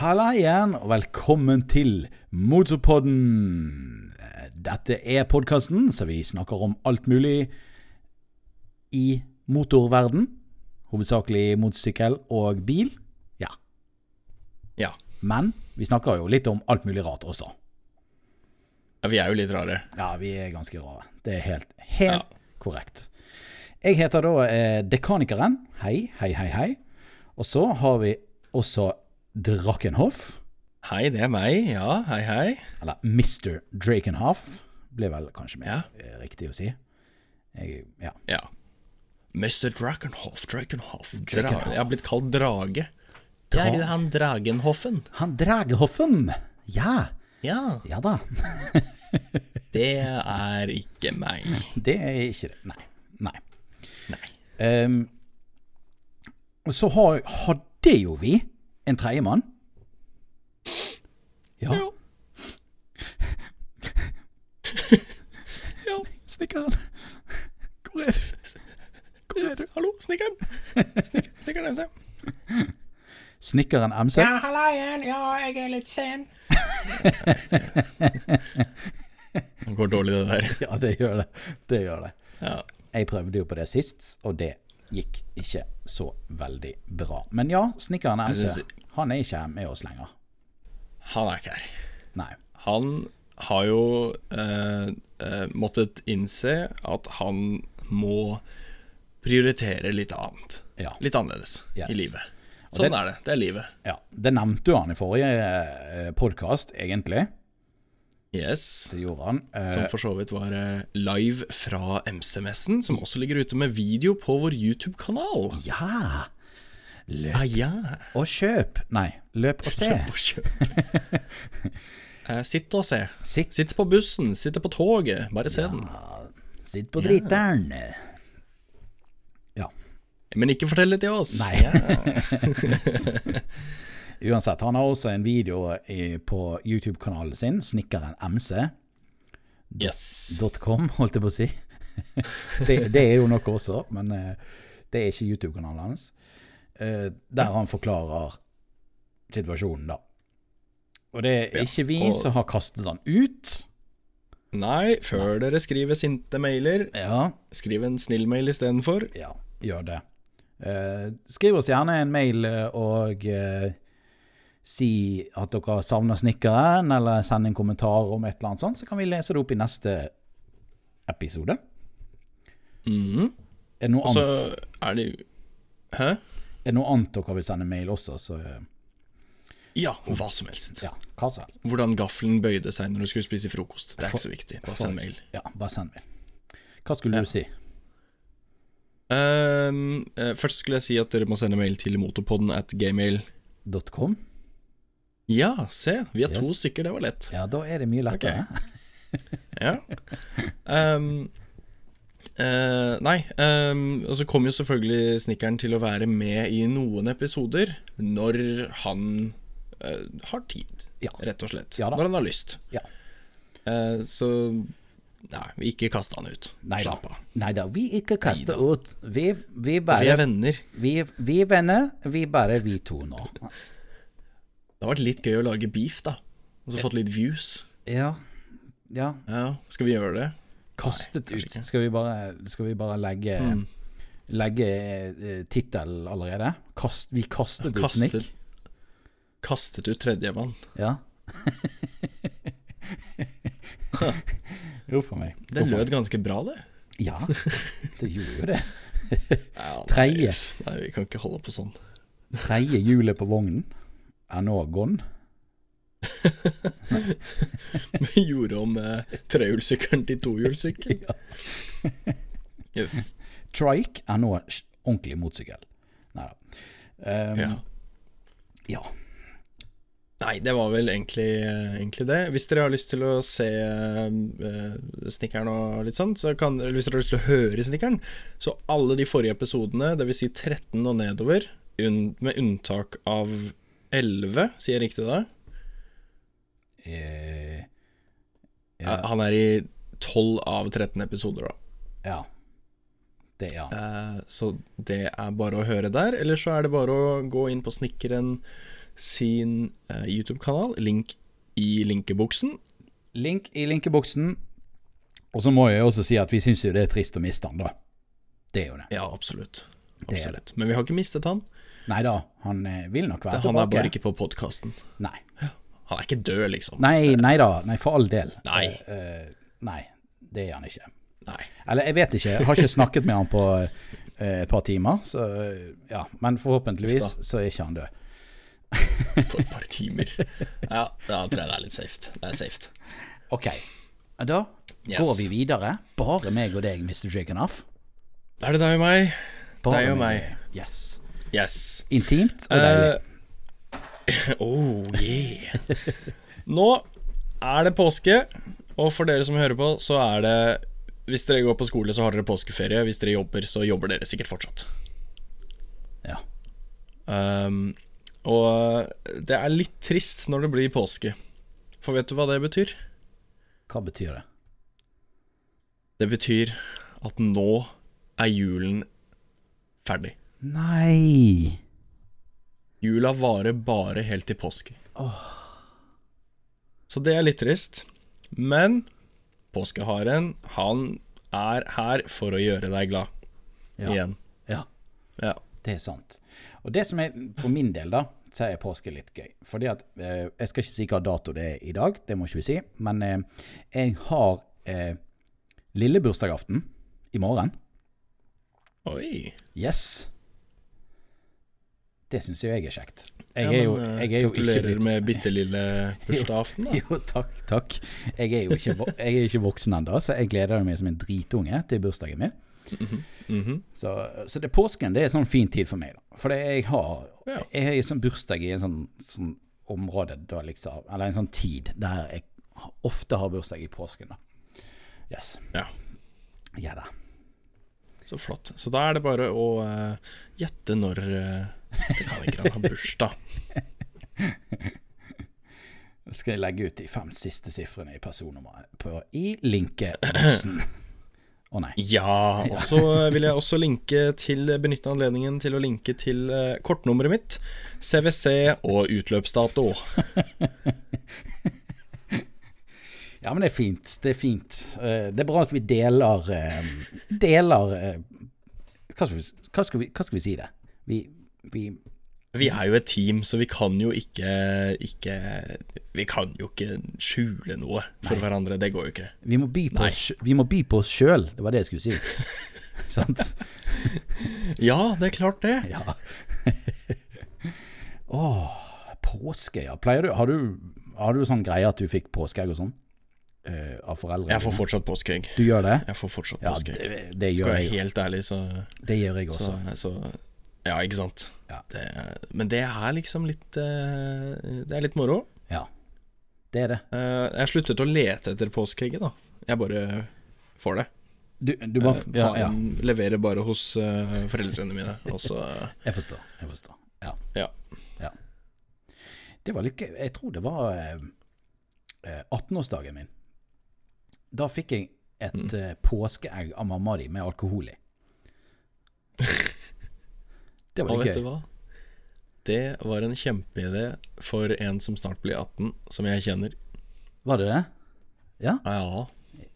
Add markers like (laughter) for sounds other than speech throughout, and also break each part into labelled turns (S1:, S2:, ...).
S1: Halla igjen, og velkommen til Motorpodden. Dette er podkasten, så vi snakker om alt mulig i motorverden. Hovedsakelig motorsykkel og bil. Ja.
S2: Ja.
S1: Men vi snakker jo litt om alt mulig rart også.
S2: ja, vi er jo litt rare.
S1: Ja, vi er ganske rare. Det er helt, helt korrekt. Jeg heter da eh, Dekanikeren. Hei, hei, hei, hei. Og så har vi også Drakenhoff.
S2: Hei, det er meg. Ja, hei, hei.
S1: Eller Mr. Drakenhoff blir vel kanskje mer
S2: Ja.
S1: eh, riktig å si. Jeg, ja.
S2: Ja. Mr. Drakenhoff, Drakenhoff, Dra
S1: Drakenhoff.
S2: Jeg har blitt kalt drage.
S1: Dra-
S2: det han Dragenhoffen.
S1: Han Dragehoffen! Ja,
S2: Ja,
S1: ja da.
S2: det er ikke meg.
S1: (laughs) Det er ikke det. Nei. Nei.
S2: Nei.
S1: Ehm, og så har, hadde jo vi en tredjemann. Ja.
S2: (laughs) Ja. Ja.
S1: Snekkeren. Hvor er du?
S2: Hvor er du? Hallo, snekkeren. Snek- Snekkeren MC.
S1: Snekkeren MC.
S2: halla igjen. Ja, jeg er litt sen. (laughs) Det går dårlig, det der.
S1: Ja, det gjør det. Det gjør det.
S2: Ja.
S1: Jeg prøvde jo på det sist, og det gikk ikke så veldig bra. Men ja, snekkeren MC,
S2: Jeg synes-
S1: han er ikke med oss lenger.
S2: Han er ikke her.
S1: Nei.
S2: Han har jo eh, eh, måttet innse at han må prioritere litt annet.
S1: Ja.
S2: Litt annerledes
S1: Yes.
S2: i livet.
S1: Og
S2: Sånn
S1: det-
S2: er det. Det er livet.
S1: ja. Det nevnte jo han i forrige podkast, egentlig.
S2: Yes.
S1: Det gjorde han. Eh,
S2: Som for så vidt var eh, live fra MC-messen, som også ligger ute med video på vår YouTube-kanal.
S1: ja! Løp
S2: Ah, ja.
S1: og kjøp. Nei, løp og se.
S2: Kjøp og kjøp.
S1: (laughs)
S2: Eh, sitt og se.
S1: Sitt,
S2: Sitt på bussen, sitte på toget, bare se den.
S1: sitt på driteren. Ja.
S2: Men ikke fortell det til oss.
S1: Nei.
S2: Ja.
S1: (laughs) Uansett, han har også en video i, på YouTube-kanalen sin, snikkerenmc.com,
S2: Yes.
S1: holdt jeg på å si. (laughs) det, det er jo noe også, men eh, det er ikke YouTube-kanalen hans. Eh, der han forklarer situasjonen, da. Og det er
S2: Ja,
S1: ikke vi
S2: og-
S1: som har kastet han ut.
S2: Nei, før dere skriver sinte mailer,
S1: Ja,
S2: skriv en snill mail istedenfor.
S1: ja gjør det. Eh, skriv oss gjerne en mail eh, og eh, si at dere savner snekkeren, eller send en kommentar om et eller annet sånt, så kan vi lese det opp i neste episode.
S2: Mhm.
S1: Er det noe,
S2: Så
S1: annet,
S2: er det jo Hæ?
S1: er det noe annet dere vil sende mail også, så eh,
S2: Ja, hva som helst.
S1: ja, hva som helst.
S2: Hvordan gaffelen bøyde seg når du skulle spise frokost. Det er ikke så viktig. Bare send mail.
S1: Ja, bare send mail. Hva skulle
S2: Ja.
S1: du si?
S2: Ehm, eh, først skulle jeg si at dere må sende mail til motorpodden at gmail.
S1: .com?
S2: Ja, se. Vi er to
S1: Yes.
S2: stykker, det var lett.
S1: Ja, da er det mye lettere.
S2: Ja. Ehm, eh, nei, ehm, og så kommer jo selvfølgelig snekkeren til å være med i noen episoder når han eh, har tid.
S1: Ja.
S2: rett og slett.
S1: Ja da.
S2: når han har lyst.
S1: Ja.
S2: Eh, så nei, vi ikke kast han ut.
S1: Nei da.
S2: Slapp av.
S1: Nei da, vi ikke kaster
S2: Neida.
S1: ut. Vi, vi bare
S2: Vi er venner.
S1: Vi, vi er venner, vi er bare vi to nå.
S2: Det har vært litt gøy å lage beef, da. Og så fått litt views.
S1: Ja. ja.
S2: Ja, skal vi gjøre det?
S1: Kastet
S2: Nei, kanskje
S1: ut.
S2: ikke.
S1: Skal vi bare, skal vi bare legge,
S2: Mm.
S1: legge eh, tittelen allerede? Kast, vi kastet, ut
S2: Kastet,
S1: Nick.
S2: kastet ut tredjemann.
S1: Ja. (laughs) Huff a meg.
S2: Det
S1: Huff a meg.
S2: lød ganske bra, det.
S1: Ja, det gjorde jo det.
S2: Ja, nei,
S1: Tredje.
S2: uff, Nei, vi kan ikke holde på sånn.
S1: Tredje hjulet på vognen er nå gone.
S2: (laughs) Vi gjorde om eh, trehjulssykkelen til tohjulssykkel. Uff.
S1: Trike er nå sj- ordentlig motorsykkel. Nei da. Um,
S2: Ja.
S1: ja.
S2: Nei, det var vel egentlig, eh, egentlig det. Hvis dere har lyst til å se eh, Snikkeren og litt sånt, så kan, eller hvis dere har lyst til å høre Snikkeren, så alle de forrige episodene, dvs. Si 13 og nedover, unn- med unntak av 11, sier jeg riktig da?
S1: Eh,
S2: Eh, Han er i 12 av 13 episoder, da.
S1: ja. Det, ja.
S2: Eh, så det er bare å høre der. Eller så er det bare å gå inn på Snikkeren sin eh, YouTube-kanal. Link i linkebuksen.
S1: Link i linkeboksen. Og så må jeg også si at vi syns jo det er trist å miste han, da. Det er jo det.
S2: Ja, absolutt.
S1: er det.
S2: absolutt. Men vi har ikke mistet han.
S1: Nei da, han eh, vil nok
S2: Det,
S1: være
S2: han er
S1: tilbake.
S2: bare ikke på podkasten.
S1: Nei.
S2: Han er ikke død, liksom.
S1: Nei, nei da. Nei, for all del.
S2: Nei.
S1: Eh, eh, nei, det er han ikke.
S2: Nei.
S1: Eller jeg vet ikke. Jeg har ikke snakket med han på eh, et par timer. Så eh, ja, Men forhåpentligvis så er ikke han død.
S2: For et par
S1: (laughs)
S2: timer. Ja, da tror jeg det er litt safe. Det er safe.
S1: OK. Da
S2: Yes.
S1: går vi videre. Bare meg og deg, Mr. Chicken Off.
S2: Er det deg og meg?
S1: Bare
S2: Deg og meg.
S1: Yes.
S2: Yes.
S1: Intimt og deilig.
S2: Eh, (laughs) oh yeah. Nå er det påske, og for dere som hører på, så er det Hvis dere går på skole, så har dere påskeferie. Hvis dere jobber, så jobber dere sikkert fortsatt.
S1: Ja.
S2: Eh. Um, og det er litt trist når det blir påske. For vet du hva det betyr?
S1: Hva betyr det?
S2: Det betyr at nå er julen ferdig.
S1: Nei
S2: Jula varer bare helt til påske. Så det er litt trist. Men påskeharen, han er her for å gjøre deg glad.
S1: Ja.
S2: Igjen.
S1: Ja,
S2: Ja.
S1: det er sant. Og det som er for min del, da, så er påske litt gøy. Fordi at eh, Jeg skal ikke si hva dato det er i dag, det må ikke vi si. Men eh, jeg har eh, lillebursdagaften i morgen.
S2: Oi.
S1: Yes. Det syns jo jeg er kjekt. Jeg
S2: Ja,
S1: er jo,
S2: men, eh,
S1: jeg er jo ikke
S2: Gratulerer
S1: blitt
S2: med bitte lille bursdagsaften, da.
S1: (laughs) Jo, takk, takk. Jeg er jo ikke, vo- jeg er ikke voksen ennå, så jeg gleder meg som en dritunge til bursdagen min.
S2: Mhm.
S1: Så, så det påsken det er sånn fin tid for meg. da. For det jeg har
S2: Ja.
S1: Jeg har en sånn bursdag i en sånn, sånn område, da, liksom, eller en sånn tid, der jeg ha- ofte har bursdag i påsken. da. Yes.
S2: Ja.
S1: Ja da.
S2: Så flott. Så da er det bare å eh, gjette når eh, Det kan ikke han ha bursdag.
S1: Skal jeg legge ut de fem siste sifrene i personnummeret på, i
S2: (clears throat)
S1: linkeboksen. Å nei.
S2: Ja, og så vil jeg også linke til benytte anledningen til å linke til eh, kortnummeret mitt, CWC og utløpsdato.
S1: Ja, men det er fint. Det er fint. Eh, Det er bra at vi deler eh, Deler eh, Hva skal vi, hva skal vi, hva skal vi si det? Vi, vi
S2: Vi er jo et team, så vi kan jo ikke, ikke Vi kan jo ikke skjule noe for hverandre. Det går jo ikke.
S1: Vi må by på
S2: Nei.
S1: oss sj- vi må by på oss sjøl, det var det jeg skulle si.
S2: (laughs)
S1: Sant?
S2: Ja, det er klart det.
S1: Ja. (laughs) Åh, påske, ja. Pleier du, har, du, har du sånn greie at du fikk påskeegg og sånn? Eh, av foreldre?
S2: Jeg får fortsatt påskeegg.
S1: Du gjør det?
S2: Jeg får fortsatt
S1: Ja,
S2: påskeegg.
S1: det, det gjør
S2: Skal jeg
S1: jeg,
S2: være helt ærlig, så,
S1: det gjør jeg
S2: så,
S1: også.
S2: så Ja, ikke sant.
S1: Ja.
S2: Det, men det er liksom litt eh, Det er litt moro.
S1: Ja. Det er det.
S2: Eh, Jeg sluttet å lete etter påskeegget, da. Jeg bare får det.
S1: Du, du bare
S2: Eh,
S1: ja,
S2: har-
S1: ja.
S2: Leverer bare hos eh, foreldrene mine. Og så
S1: Jeg forstår. Jeg forstår. Ja.
S2: Ja.
S1: Ja. Det var litt gøy. Jeg tror det var eh, eh, 18-årsdagen min. Da fikk jeg et
S2: Mm.
S1: eh, påskeegg av mamma di med
S2: (laughs)
S1: alkohol i. (laughs) Det var
S2: Og vet
S1: litt
S2: du
S1: gøy.
S2: hva? Det var en kjempeidé for en som snart blir 18, som jeg kjenner.
S1: Var det det?
S2: Ja,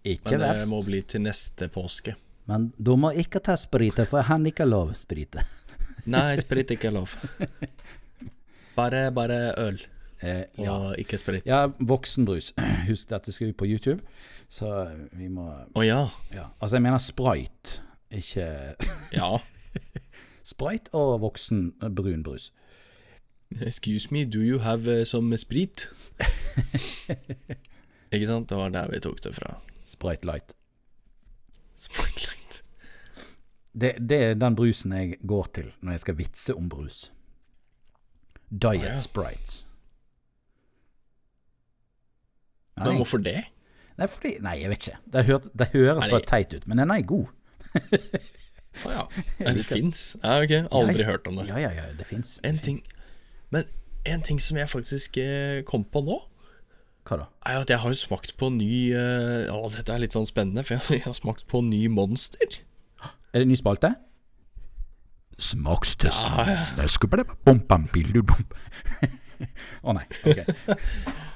S1: Ikke
S2: men det må
S1: verst.
S2: bli til neste påske.
S1: Men du må ikke ta sprite, for han ikke har lov å
S2: (laughs)
S1: sprite.
S2: Nei, sprit ikke er
S1: (laughs)
S2: lov. Bare, bare øl,
S1: Eh,
S2: og
S1: ja.
S2: ikke sprit.
S1: ja, voksenbrus. (clears throat) Husk dette skal ut på YouTube, så eh, vi må
S2: Å ja.
S1: ja. Altså, jeg mener sprite, ikke (laughs)
S2: Ja.
S1: Sprite og voksen eh, brun brus.
S2: Excuse me, do you have eh, some sprit?
S1: (laughs)
S2: ikke sant? Det var der vi tok det fra.
S1: Sprite Light.
S2: Spotlight.
S1: Det, det er den brusen jeg går til når jeg skal vitse om brus. Diet
S2: Å, ja.
S1: Sprites. Nei,
S2: Men hvorfor det?
S1: nei, fordi, nei, jeg vet ikke. Det, hørt, det høres
S2: Nei, det-
S1: bare teit ut, men den er god.
S2: Å ja. Nei, Det fins? Ja, ok. Aldri hørt om det.
S1: Ja, ja, ja, det fins.
S2: En ting Men en ting som jeg faktisk eh, kom på nå,
S1: Hva da?
S2: er jo at jeg har jo smakt på ny eh, Å, dette er litt sånn spennende, for jeg, (laughs) jeg har smakt på ny Monster.
S1: Er det en ny spalte? Smakstesten.
S2: Ja, ja.
S1: Skubba det på bompa, bildu, bompa. (laughs) Å nei.
S2: (laughs)
S1: ok.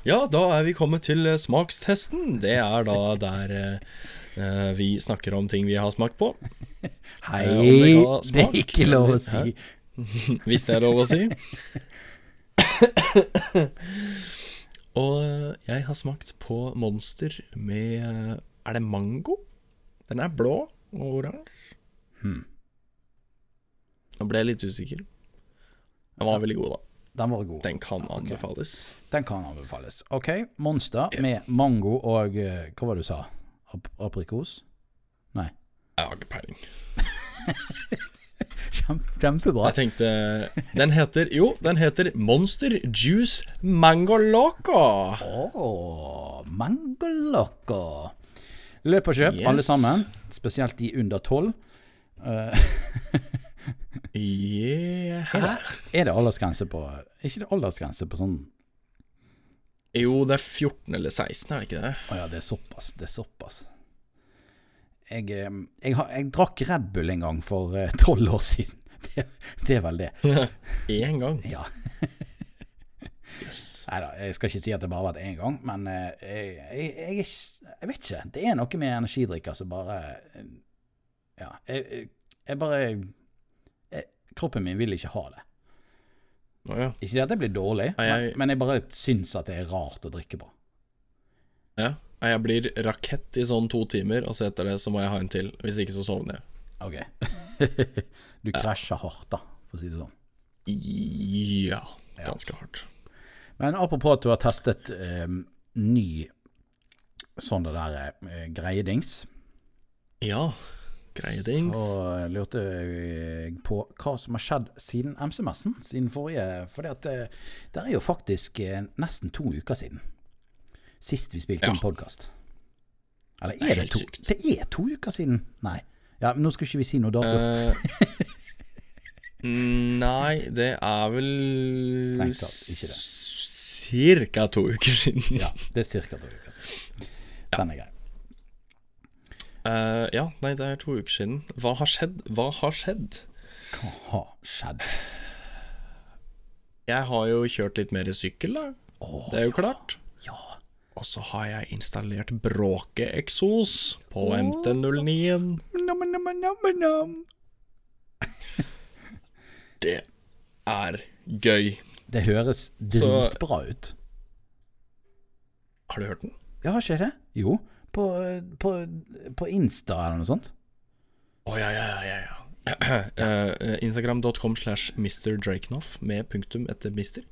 S2: Ja, da er vi kommet til eh, smakstesten. Det er da der eh, eh, vi snakker om ting vi har smakt på.
S1: Hei,
S2: Eh, om det ga
S1: det
S2: smak,
S1: er ikke lov å
S2: eller-
S1: si.
S2: Hvis det er lov å si. Og eh, jeg har smakt på Monster med eh, Er det mango? Den er blå og oransje.
S1: Hmm.
S2: Nå ble jeg litt usikker. Den var veldig god, da.
S1: Den var god.
S2: Den kan anbefales.
S1: Den kan anbefales. OK, Monster med mango og eh, Hva var det du sa? Ap aprikos? (laughs)
S2: Jeg har ikke peiling.
S1: Kjempe, kjempebra.
S2: Jeg tenkte Den heter Jo, den heter Monster Juice Mango Loco.
S1: Ååå, mangoloco. Løp og kjøp, alle
S2: Yes.
S1: sammen. Spesielt de under tolv.
S2: Yeah.
S1: Er det aldersgrense på Er ikke det aldersgrense på sånn
S2: Jo, det er 14 eller 16, er det ikke det?
S1: Å ja, det er såpass. Det er såpass. Jeg, eh, jeg, har, jeg drakk Red Bull en gang for eh, tolv år siden. (laughs) Det, det er vel det.
S2: Én gang.
S1: Ja.
S2: Yes.
S1: Nei da, jeg skal ikke si at det bare har vært én gang, men eh, jeg, jeg, jeg, er ikke- jeg vet ikke. Det er noe med energidrikker som bare eh, Ja, jeg, jeg- jeg bare jeg, Kroppen min vil ikke ha det.
S2: Å ja.
S1: Ikke det at jeg blir dårlig,
S2: Nei, jeg-
S1: men, men jeg bare syns at det er rart å drikke på.
S2: ja. Nei, Jeg blir rakett i sånn to timer, og så etter det så må jeg ha en til. Hvis ikke så sovner jeg.
S1: Ok. (laughs) du krasjer hardt, da, for å si det sånn.
S2: Ja. Ganske hardt.
S1: Men apropos at du har testet eh, ny sånn det der eh, greiedings,
S2: Ja. Greie dings.
S1: så lurte jeg på hva som har skjedd siden MC-messen, siden forrige. For det er jo faktisk eh, nesten to uker siden sist vi spilte
S2: Ja.
S1: en podkast. Eller
S2: Det er
S1: er det
S2: helt
S1: to?
S2: sykt.
S1: Det er to uker siden. Nei. Ja, men Nå skal ikke vi si noe dato.
S2: Eh, nei, det er vel
S1: Strengt tatt ikke det.
S2: Cirka to uker siden.
S1: Ja, det er ca. to uker siden. Den er grei.
S2: (laughs) Eh, ja, nei, det er to uker siden. Hva har skjedd? Hva har skjedd?
S1: Hva har skjedd?
S2: Jeg har jo kjørt litt mer sykkel, da.
S1: Åh,
S2: det er jo klart.
S1: Ja.
S2: Og så har jeg installert bråkeeksos på MT09-en.
S1: Nam, nam, nam, nam.
S2: Det er gøy.
S1: Det høres
S2: Så-
S1: dritbra ut.
S2: Har du hørt den?
S1: Ja, har ikke det? Jo. På, på, på Insta eller noe sånt.
S2: Å ja, ja, ja, ja. (clears throat) ja. Eh, Instagram.com slash Mr. Drakenoff med punktum etter mister,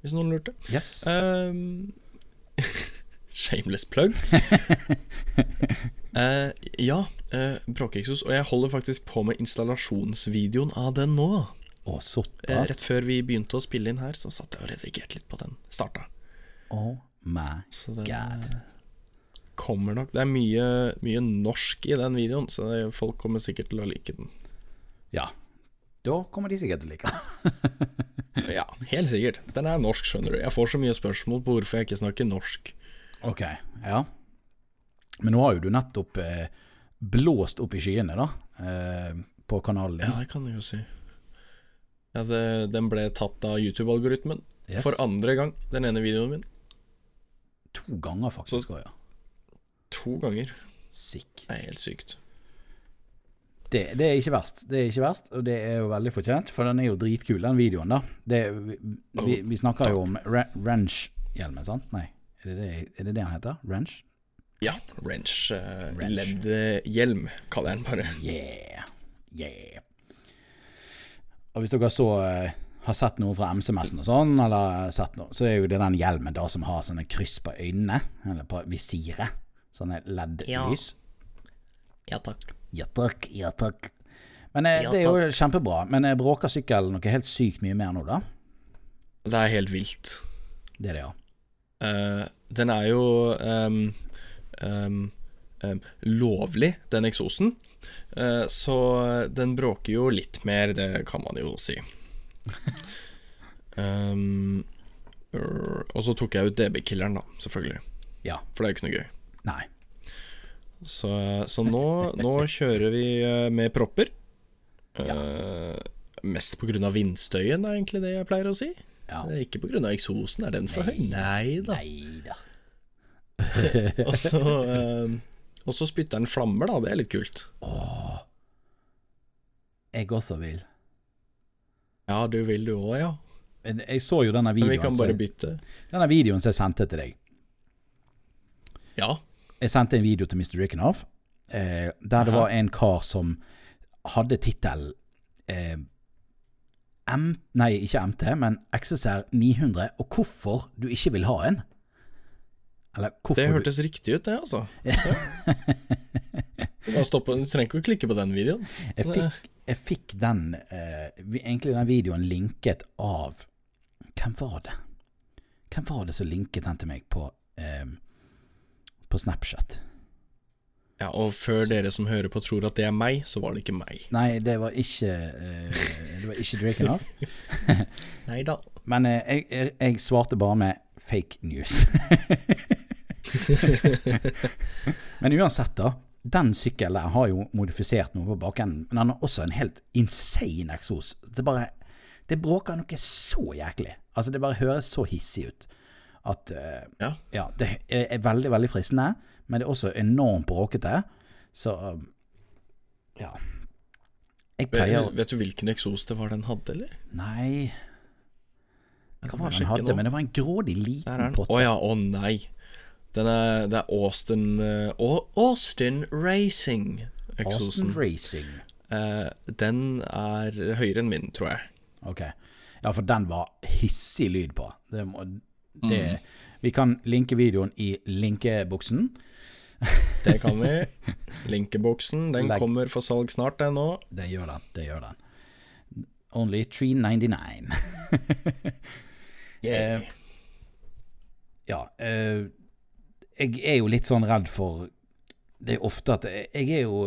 S2: hvis noen lurte.
S1: Yes.
S2: Ehm, (laughs) shameless (laughs) plug. Eh, ja, uh, bråkeeksos. Og jeg holder faktisk på med installasjonsvideoen av den nå.
S1: Å,
S2: Eh, rett
S1: såpass.
S2: før vi begynte å spille inn her, så satt jeg og redigerte litt på den. Starta.
S1: Oh my
S2: Så den
S1: god.
S2: eh, kommer nok Det er mye, mye norsk i den videoen, så det, folk kommer sikkert til å like den.
S1: Ja. Da kommer de sikkert til å like det.
S2: (laughs) Ja, helt sikkert. Den er norsk, skjønner du. Jeg får så mye spørsmål på hvorfor jeg ikke snakker norsk.
S1: (laughs) Ok, ja. Men nå har jo du nettopp eh, blåst opp i skyene, da. Eh, på kanalen
S2: Ja,
S1: din.
S2: det kan du jo si. Ja, det, den ble tatt av YouTube-algoritmen
S1: Yes.
S2: for andre gang. Den ene videoen min.
S1: to ganger, faktisk. også, ja.
S2: To ganger.
S1: Sick.
S2: Det er helt sykt.
S1: Det, det er ikke verst. Det er ikke verst, og det er jo veldig fortjent, for den er jo dritkul, den videoen, da. Det, vi, vi, vi snakker jo om re wrench-hjelmen, sant? Nei, er det det, er det det han heter? Wrench?
S2: Ja, wrench. eh,
S1: Wrench.
S2: Leddhjelm, kaller jeg den bare.
S1: Yeah. Yeah. Og hvis dere så eh, har sett noe fra MC-messen og sånn, eller sett noe, så er jo det den hjelmen da som har sånne kryss på øynene, eller på visiret. Sånne
S2: Ja.
S1: LED-lys.
S2: Ja takk.
S1: Ja takk, ja takk. Men eh,
S2: Ja,
S1: det er jo kjempebra. Men eh, bråker sykkelen noe helt sykt mye mer nå, da?
S2: Det er helt vilt.
S1: Det er det, ja.
S2: Eh, den er jo ehm, ehm, ehm, lovlig, den eksosen. Eh, så den bråker jo litt mer, det kan man jo si. Ehm, øh, og så tok jeg ut DB-killeren, da, selvfølgelig.
S1: Ja.
S2: For det er jo ikke noe gøy.
S1: Nei.
S2: Så, så nå, nå kjører vi eh, med propper. Eh, Mest på grunn av vindstøyen, er egentlig det jeg pleier å si.
S1: Ja.
S2: Det er Ikke pga. eksosen, er den for høy? Nei da.
S1: Nei da.
S2: (laughs) Og så eh, og så spytter den flammer, da. Det er litt kult.
S1: (laughs) Åh. Jeg også vil.
S2: Ja, du vil du òg, ja.
S1: Men Jeg så jo denne
S2: Men vi
S1: videoen,
S2: kan
S1: så-
S2: bare bytte.
S1: denne videoen som jeg sendte til deg.
S2: Ja.
S1: Jeg sendte en video til Mr. Rickenhoff eh, der det
S2: Aha.
S1: var en kar som hadde tittelen eh, M... Nei, ikke MT, men XSR 900 og hvorfor du ikke vil ha en. Eller hvorfor
S2: Det
S1: du-
S2: hørtes riktig ut, det, (laughs) altså. Ja. Bare stopp, du trenger ikke å klikke på den videoen.
S1: Jeg fikk, jeg fikk den eh, vi- Egentlig den videoen linket av Hvem var det? Hvem var det som linket den til meg på eh, På Snapchat?
S2: Ja, Og før dere som hører på tror at det er meg, så var det ikke meg.
S1: Nei, det var ikke eh, Det var ikke Drakenoff.
S2: Nei da.
S1: Men eh, jeg, jeg, jeg svarte bare med fake news. (laughs) Men uansett, da. Den sykkelen der har jo modifisert noe på bakenden, men den har også en helt insane eksos. Det bare Det bråker noe så jæklig. Altså, det bare høres så hissig ut at eh,
S2: Ja.
S1: ja, det er er veldig, veldig fristende, men det er også enormt bråkete. Så um, ja. Jeg pleier
S2: Vet, vet du hvilken eksos det var den hadde, eller?
S1: Nei, hva var det den
S2: Sjekke
S1: hadde?
S2: nå.
S1: Men det var en grådig
S2: Der er
S1: liten
S2: den. Å
S1: pott.
S2: ja, å nei. Den er, det er Austin eh, Au- Austin
S1: Austin
S2: Racing-eksosen.
S1: Racing.
S2: Eh, den er høyere enn min, tror jeg.
S1: Ok. Ja, for den var hissig lyd på. Det må, det, Vi kan linke videoen i linkebuksen.
S2: Det kan vi. Linkeboksen, den
S1: Legg.
S2: kommer for salg snart, den òg.
S1: Det gjør den, det gjør den. Only 399.
S2: Yeah.
S1: ja. eh, jeg er jo litt sånn redd for Det er ofte at Jeg jeg er jo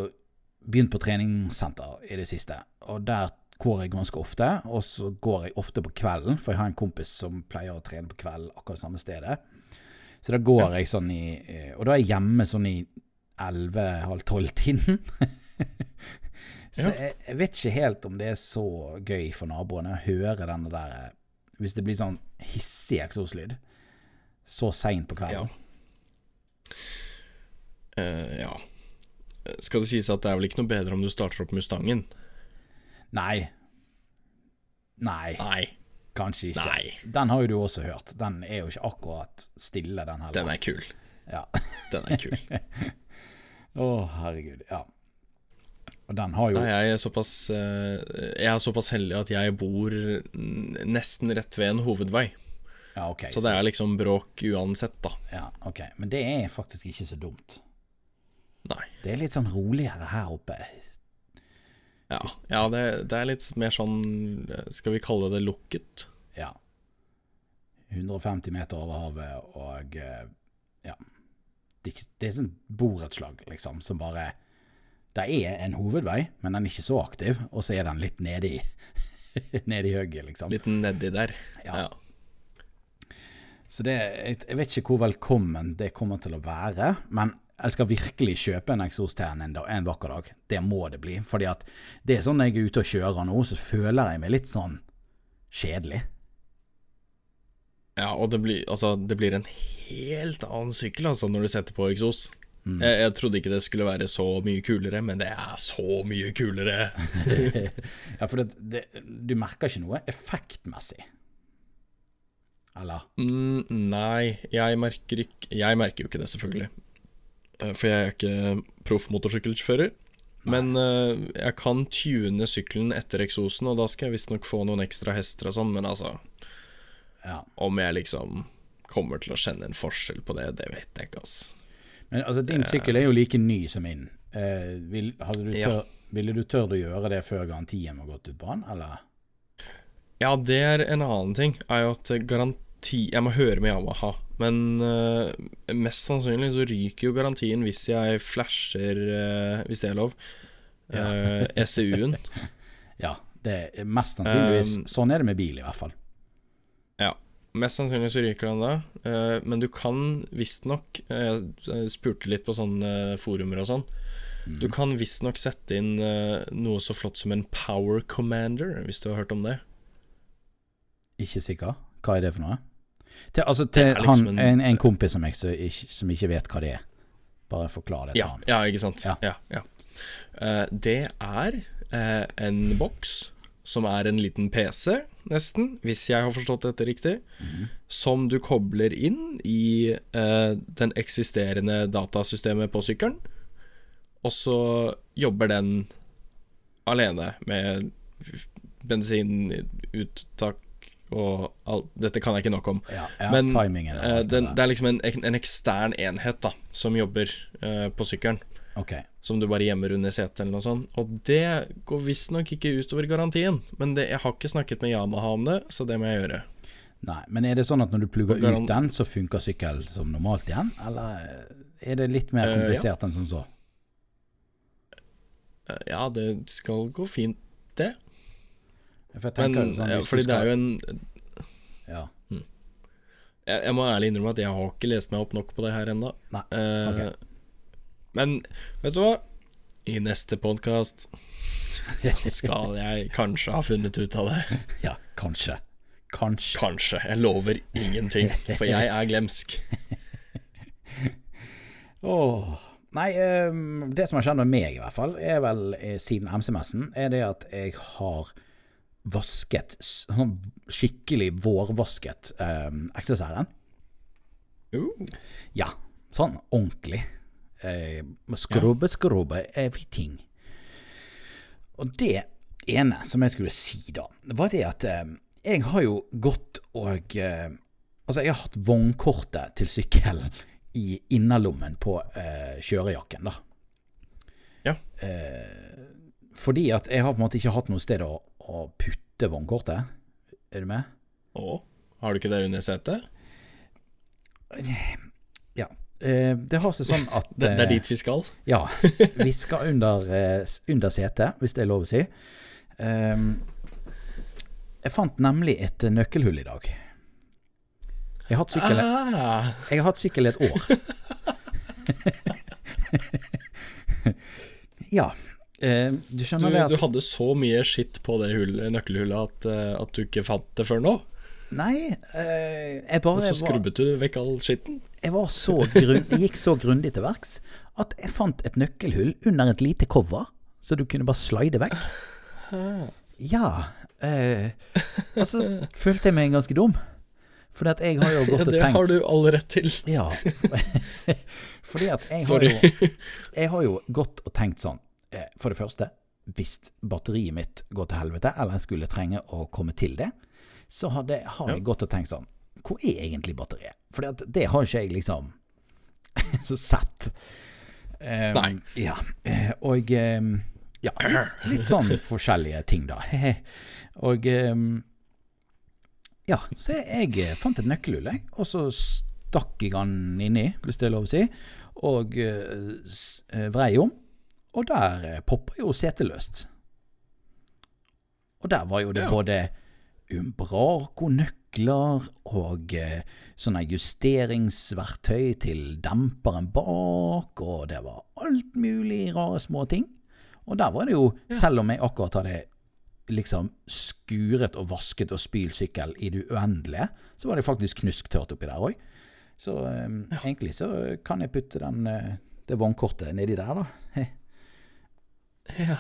S1: begynt på treningssenter i det siste, og der går jeg ganske ofte. Og så går jeg ofte på kvelden, for jeg har en kompis som pleier å trene på kvelden akkurat samme stedet. Så da går jeg sånn i eh, Og da er jeg hjemme sånn i (laughs) 11-halv-tolv-tiden. så
S2: Ja.
S1: jeg, jeg vet ikke helt om det er så gøy for naboene å høre denne der eh, Hvis det blir sånn hissig eksoslyd så seint på kvelden.
S2: Eh, ja. Skal det sies at det er vel ikke noe bedre om du starter opp Mustangen?
S1: Nei. Nei,
S2: Nei,
S1: kanskje ikke.
S2: Nei.
S1: Den har jo du også hørt. Den er jo ikke akkurat stille, den heller.
S2: den er kul.
S1: Ja.
S2: (laughs) Den er kul.
S1: Å, herregud. Ja. Og den har jo
S2: Nei, jeg er såpass eh, Jeg er såpass heldig at jeg bor mm, nesten rett ved en hovedvei.
S1: Ja, OK.
S2: Så det er liksom bråk uansett, da.
S1: ja, ok. Men det er faktisk ikke så dumt.
S2: Nei.
S1: Det er litt sånn roligere her oppe.
S2: Ja, ja det, det er litt mer sånn Skal vi kalle det lukket?
S1: Ja. 150 meter over havet og eh, Ja. Det er, ikke, det er sånn borettslag, liksom, som bare Det er en hovedvei, men den er ikke så aktiv, og så er den litt nedi (laughs) Nedi hugget, liksom.
S2: Litt nedi der.
S1: Ja.
S2: Ja.
S1: Så det, jeg, jeg vet ikke hvor velkommen det kommer til å være, men jeg skal virkelig kjøpe en eksos til henne en, dag- en vakker dag. Det må det bli. Fordi at det er sånn når jeg er ute og kjører nå, så føler jeg meg litt sånn kjedelig.
S2: Ja, og det blir, altså, det blir en helt annen sykkel altså, når du setter på eksos. Jeg, jeg trodde ikke det skulle være så mye kulere, men det er så mye kulere.
S1: Ja, for det, det, du merker ikke noe effektmessig. Eller?
S2: Mm, nei, jeg merker, ikke, jeg merker jo ikke det, selvfølgelig. Eh, For jeg er ikke proff motorsykkelfører. Men eh, jeg kan tune sykkelen etter eksosen, og da skal jeg visstnok få noen ekstra hester og sånn, men altså
S1: Ja.
S2: Om jeg liksom kommer til å kjenne en forskjell på det, det vet jeg ikke, ass.
S1: Men altså, din sykkel er jo like ny som min. Eh, vil, hadde du
S2: Ja.
S1: tør, Ville du tørt å gjøre det før garantien var gått ut på den, eller?
S2: Ja, det er en annen ting. Er jo at garanti Jeg må høre med Yamaha. Men øh, mest sannsynlig så ryker jo garantien hvis jeg flasher, øh, hvis det er lov, øh, ECU-en.
S1: Ja, det er mest sannsynligvis.
S2: Um,
S1: sånn er det med bil, i hvert fall.
S2: Ja. Mest sannsynlig så ryker den da. øh, men du kan visstnok uh, Jeg spurte litt på sånne forumer og sånn.
S1: Mm. Mhm.
S2: Du kan visstnok sette inn øh, noe så flott som en power commander, hvis du har hørt om det.
S1: Ikke sikker? Hva er det for noe? Til, altså til
S2: Det er liksom
S1: han,
S2: en-
S1: en, en kompis som jeg som ikke, som ikke vet hva det er. Bare forklar det til
S2: Ja,
S1: han.
S2: ja ikke sant.
S1: Ja.
S2: Ja. Ja, Eh, det er eh, en boks som er en liten PC, nesten, hvis jeg har forstått dette riktig,
S1: Mhm.
S2: som du kobler inn i eh, den eksisterende datasystemet på sykkelen, og så jobber den alene med f- bensinuttak og alt Dette kan jeg ikke nok om.
S1: Ja, ja,
S2: Men,
S1: timingen og
S2: Eh,
S1: alt
S2: den,
S1: det
S2: det er liksom en, ek- en ekstern enhet da som jobber eh, på sykkelen.
S1: der. Ok.
S2: Som du bare gjemmer under setet eller noe sånt. Og det går visstnok ikke utover garantien. Men det, jeg har ikke snakket med Yamaha om det, så det må jeg gjøre.
S1: Nei, men er det sånn at når du plugger ut
S2: Garan-
S1: den, så funker sykkel som normalt igjen? Eller er det litt mer
S2: Eh, ja.
S1: komplisert enn som så?
S2: Eh, Ja, det skal gå fint,
S1: For jeg
S2: men
S1: tenker jo sånn,
S2: eh,
S1: hvis du
S2: Fordi det er jo en
S1: skal- ja.
S2: jeg, jeg må ærlig innrømme at jeg har ikke lest meg opp nok på det her ennå.
S1: Nei,
S2: Eh, Men vet du hva? I neste podkast så skal jeg kanskje ha funnet ut av det.
S1: ja, kanskje. Kanskje.
S2: Kanskje. Jeg lover ingenting, for jeg er
S1: (laughs)
S2: glemsk.
S1: Åh. Nei, ehm, det som har skjedd med meg i hvert fall, er vel eh, siden MCMS-en, er det at jeg har vasket, s- sånn skikkelig vårvasket um, XSR-en.
S2: Uh,
S1: Ja, sånn ordentlig. Eh, skrubbe, skrubbe, everything. Og det ene som jeg skulle si da, var det at eh, jeg har jo gått og eh, Altså, jeg har hatt vognkortet til sykkelen i innerlommen på eh, kjørejakken, da.
S2: Ja.
S1: Eh, fordi at jeg har på en måte ikke hatt noe sted å, å putte vognkortet. Er du med?
S2: å, har du ikke det under setet?
S1: Ja. Eh, det har seg sånn at
S2: Det, det
S1: eh,
S2: er dit vi skal.
S1: Ja. (laughs) Vi skal under, eh, s- under setet, hvis det er lov å si. Ehm, jeg fant nemlig et eh, nøkkelhull i dag. Jeg har hatt sykkel,
S2: Ah.
S1: jeg har hatt sykkel et år. (laughs) ja. eh, du
S2: Du,
S1: skjønner det at
S2: du hadde så mye skitt på det hullet, nøkkelhullet at, eh, at du ikke fant det før nå.
S1: Nei, eh, jeg
S2: Og
S1: bare
S2: så
S1: var-
S2: skrubbet du vekk all skitten.
S1: jeg var så grunn, jeg gikk så grundig til verks at jeg fant et nøkkelhull under et lite cover, så du kunne bare slide vekk. Ah. Ja. Eh, altså
S2: (laughs)
S1: følte jeg meg ganske dum. For at jeg har jo
S2: Ja, (laughs)
S1: gått og
S2: det har
S1: tenkt
S2: du all rett til.
S1: Ja. (laughs) Fordi at jeg har,
S2: Sorry.
S1: jo, jeg har jo gått og tenkt sånn eh, For det første, hvis batteriet mitt går til helvete, eller jeg skulle trenge å komme til det, så hadde, har jeg gått og tenkt sånn Hvor er egentlig batteriet? For det har ikke jeg liksom (laughs) så sett. Eh,
S2: Nei.
S1: Ja. eh, Og eh, ja, litt, litt sånn
S2: (laughs)
S1: forskjellige ting, da. (laughs) Og eh, ja, så jeg eh, fant et nøkkelhull, jeg, og så stakk jeg han inni, hvis det er lov å si, og eh, s- eh, vrei om, og der eh, popper jo setet løst. Og der var jo det
S2: Ja.
S1: både Umbraco-nøkler og eh, sånne justeringsverktøy til demperen bak, og det var alt mulig rare små ting. Og der var det jo, selv om jeg akkurat hadde liksom skuret og vasket og spylsykkel i det uendelige, så var det faktisk knusktørt oppi der òg. Så eh, egentlig så kan jeg putte den, eh, det vognkortet nedi der, da.
S2: Ja.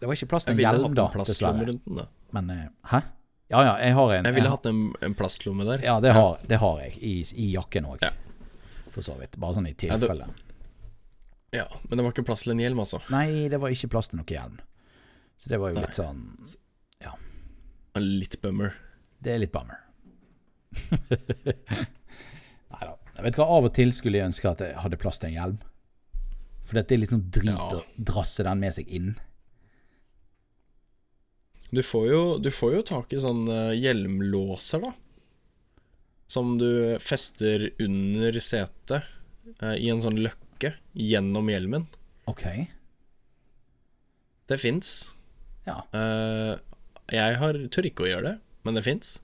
S1: Det var ikke plass til
S2: Jeg
S1: en
S2: ville
S1: hjelm,
S2: hatt
S1: da,
S2: en plastlomme
S1: dessverre.
S2: rundt den. da
S1: Men eh, hæ? Ja ja, jeg har en.
S2: Jeg ville hatt en, en plastlomme der.
S1: Ja, det har, det har jeg. I, i jakken òg.
S2: Ja.
S1: For så vidt. Bare sånn i
S2: det-
S1: tilfelle.
S2: Ja, Men det var ikke plass til en hjelm, altså.
S1: Nei, det var ikke plass til noe hjelm. Så det var jo litt sånn
S2: Litt bummer.
S1: Det er litt bummer. (laughs) Nei da. Jeg vet hva, av og til skulle jeg ønske at jeg hadde plass til en hjelm. For det er litt sånn drit
S2: Ja.
S1: å drasse den med seg inn.
S2: Du får jo, du får jo tak i sånne hjelmlåser, da. Som du fester under setet eh, i en sånn løkke gjennom hjelmen.
S1: OK.
S2: Det fins.
S1: Ja.
S2: Eh, jeg har tør ikke å gjøre det, men det fins.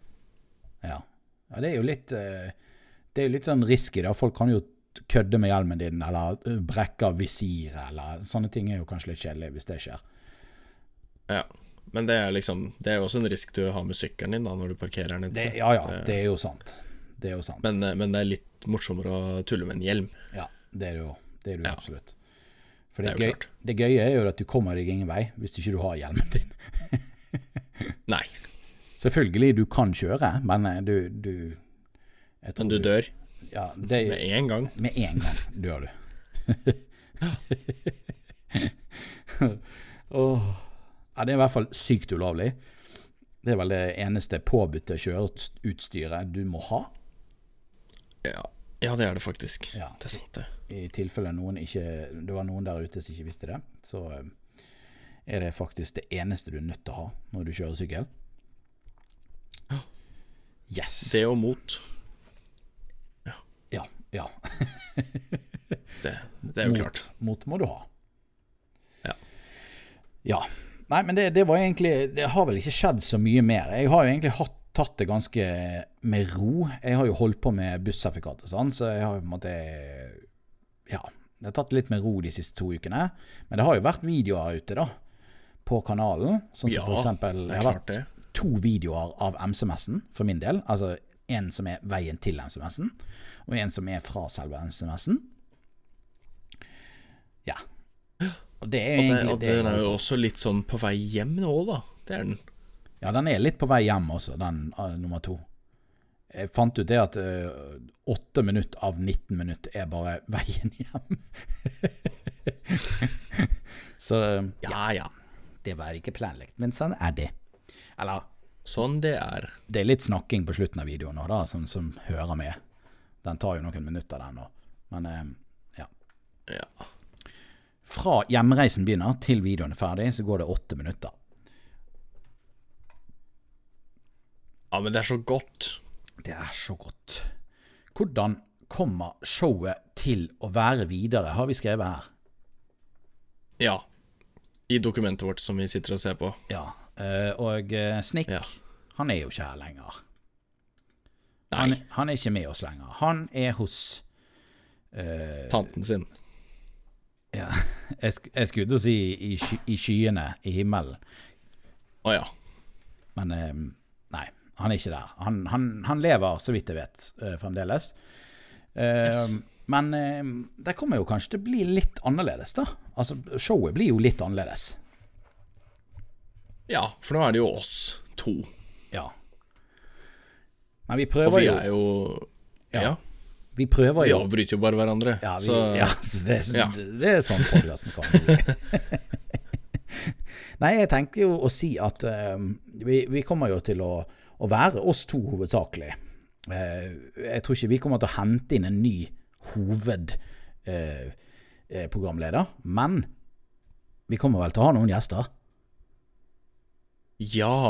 S1: Ja. ja det er jo litt eh, Det er jo litt sånn risky, da. Folk kan jo t- kødde med hjelmen din, eller eh, brekke av visiret, eller sånne ting er jo kanskje litt kjedelig hvis det skjer.
S2: Ja. Men det er liksom Det er jo også en risk du har med sykkelen din da når du parkerer den. et
S1: Det,
S2: sted.
S1: ja ja, det er jo sant. Det er jo sant.
S2: Men, eh, men det er litt morsommere å tulle med en hjelm.
S1: Ja, det er det jo. Det er det jo
S2: Ja.
S1: absolutt. For
S2: Det
S1: det,
S2: er jo
S1: gøy,
S2: klart.
S1: det gøye er jo at du kommer deg ingen vei hvis ikke du har hjelmen din.
S2: Nei,
S1: (laughs) Selvfølgelig, du kan kjøre, men eh, du, du jeg tror
S2: men du dør
S1: Ja, det,
S2: med en gang.
S1: Med en gang dør du. (laughs) Åh. Ja, det er i hvert fall sykt ulovlig. Det er vel det eneste påbudte kjøreutstyret du må ha,
S2: Ja, ja det er det faktisk.
S1: Ja.
S2: Det er sant, det.
S1: i tilfelle noen ikke, det var noen der ute som ikke visste det. Så eh, er det faktisk det eneste du er nødt til å ha når du kjører sykkel. Yes.
S2: Det og mot.
S1: Ja. ja.
S2: Det, det er jo
S1: Mot.
S2: klart.
S1: Mot må du ha.
S2: Ja.
S1: Ja. Nei, men det, det var egentlig Det har vel ikke skjedd så mye mer. Jeg har jo egentlig hatt, tatt det ganske med ro. Jeg har jo holdt på med bussertifikat og sånn, så jeg har jo på en måte Ja. Jeg har tatt det litt med ro de siste to ukene. Men det har jo vært videoer ute, da. På kanalen. Sånn som
S2: Ja,
S1: for eksempel
S2: Det
S1: Det
S2: er
S1: har vært
S2: klart, det.
S1: to videoer av MCMS-en, for min del. Altså en som er veien til MCMS-en, og en som er fra selve MCMS-en. Ja. Og det er jo
S2: At, det,
S1: egentlig
S2: at
S1: det jeg
S2: den er
S1: holder
S2: jo
S1: på.
S2: også litt sånn på vei hjem nå òg, da. Det er den.
S1: Ja, den er litt på vei hjem også, den eh, nummer to. Jeg fant ut det at eh, åtte minutter av 19 minutter er bare (laughs) veien hjem. Så eh,
S2: Ja ja.
S1: det var ikke planlagt, men sånn er det. Eller
S2: Sånn det er.
S1: Det er litt snakking på slutten av videoen nå, da, som, som hører med. Den tar jo noen minutter, den nå. Men eh, ja.
S2: Ja.
S1: Fra hjemreisen begynner til videoen er ferdig, så går det åtte minutter.
S2: ja, men det er så godt.
S1: Det er så godt. Hvordan kommer showet til å være videre, har vi skrevet her.
S2: Ja. I dokumentet vårt som vi sitter og ser på.
S1: Ja. eh, og eh, Snikk,
S2: Ja.
S1: han er jo ikke her lenger. Han,
S2: Nei,
S1: han er ikke med oss lenger. Han er hos eh,
S2: tanten sin.
S1: ja, jeg, sk jeg skulle til å si i, sky i skyene, i himmelen.
S2: Å ja.
S1: Men eh, nei, han er ikke der. Han, han, han lever, så vidt jeg vet, eh, fremdeles. Eh,
S2: Yes.
S1: Men eh, det kommer jo kanskje til å bli litt annerledes, da. Altså, showet blir jo litt annerledes.
S2: Ja, for nå er det jo oss to.
S1: Ja. Men vi
S2: Og
S1: prøver
S2: vi
S1: jo
S2: er jo
S1: Ja.
S2: Ja.
S1: Vi prøver
S2: Vi
S1: jo
S2: avbryter jo bare hverandre.
S1: Ja, vi,
S2: så
S1: ja så det,
S2: ja.
S1: det er sånn podkasten kan bli. (laughs) Nei, jeg tenkte jo å si at eh, vi, vi kommer jo til å, å være oss to hovedsakelig. Eh, jeg tror ikke vi kommer til å hente inn en ny hovedprogramleder, men vi kommer vel til å ha noen gjester.
S2: ja.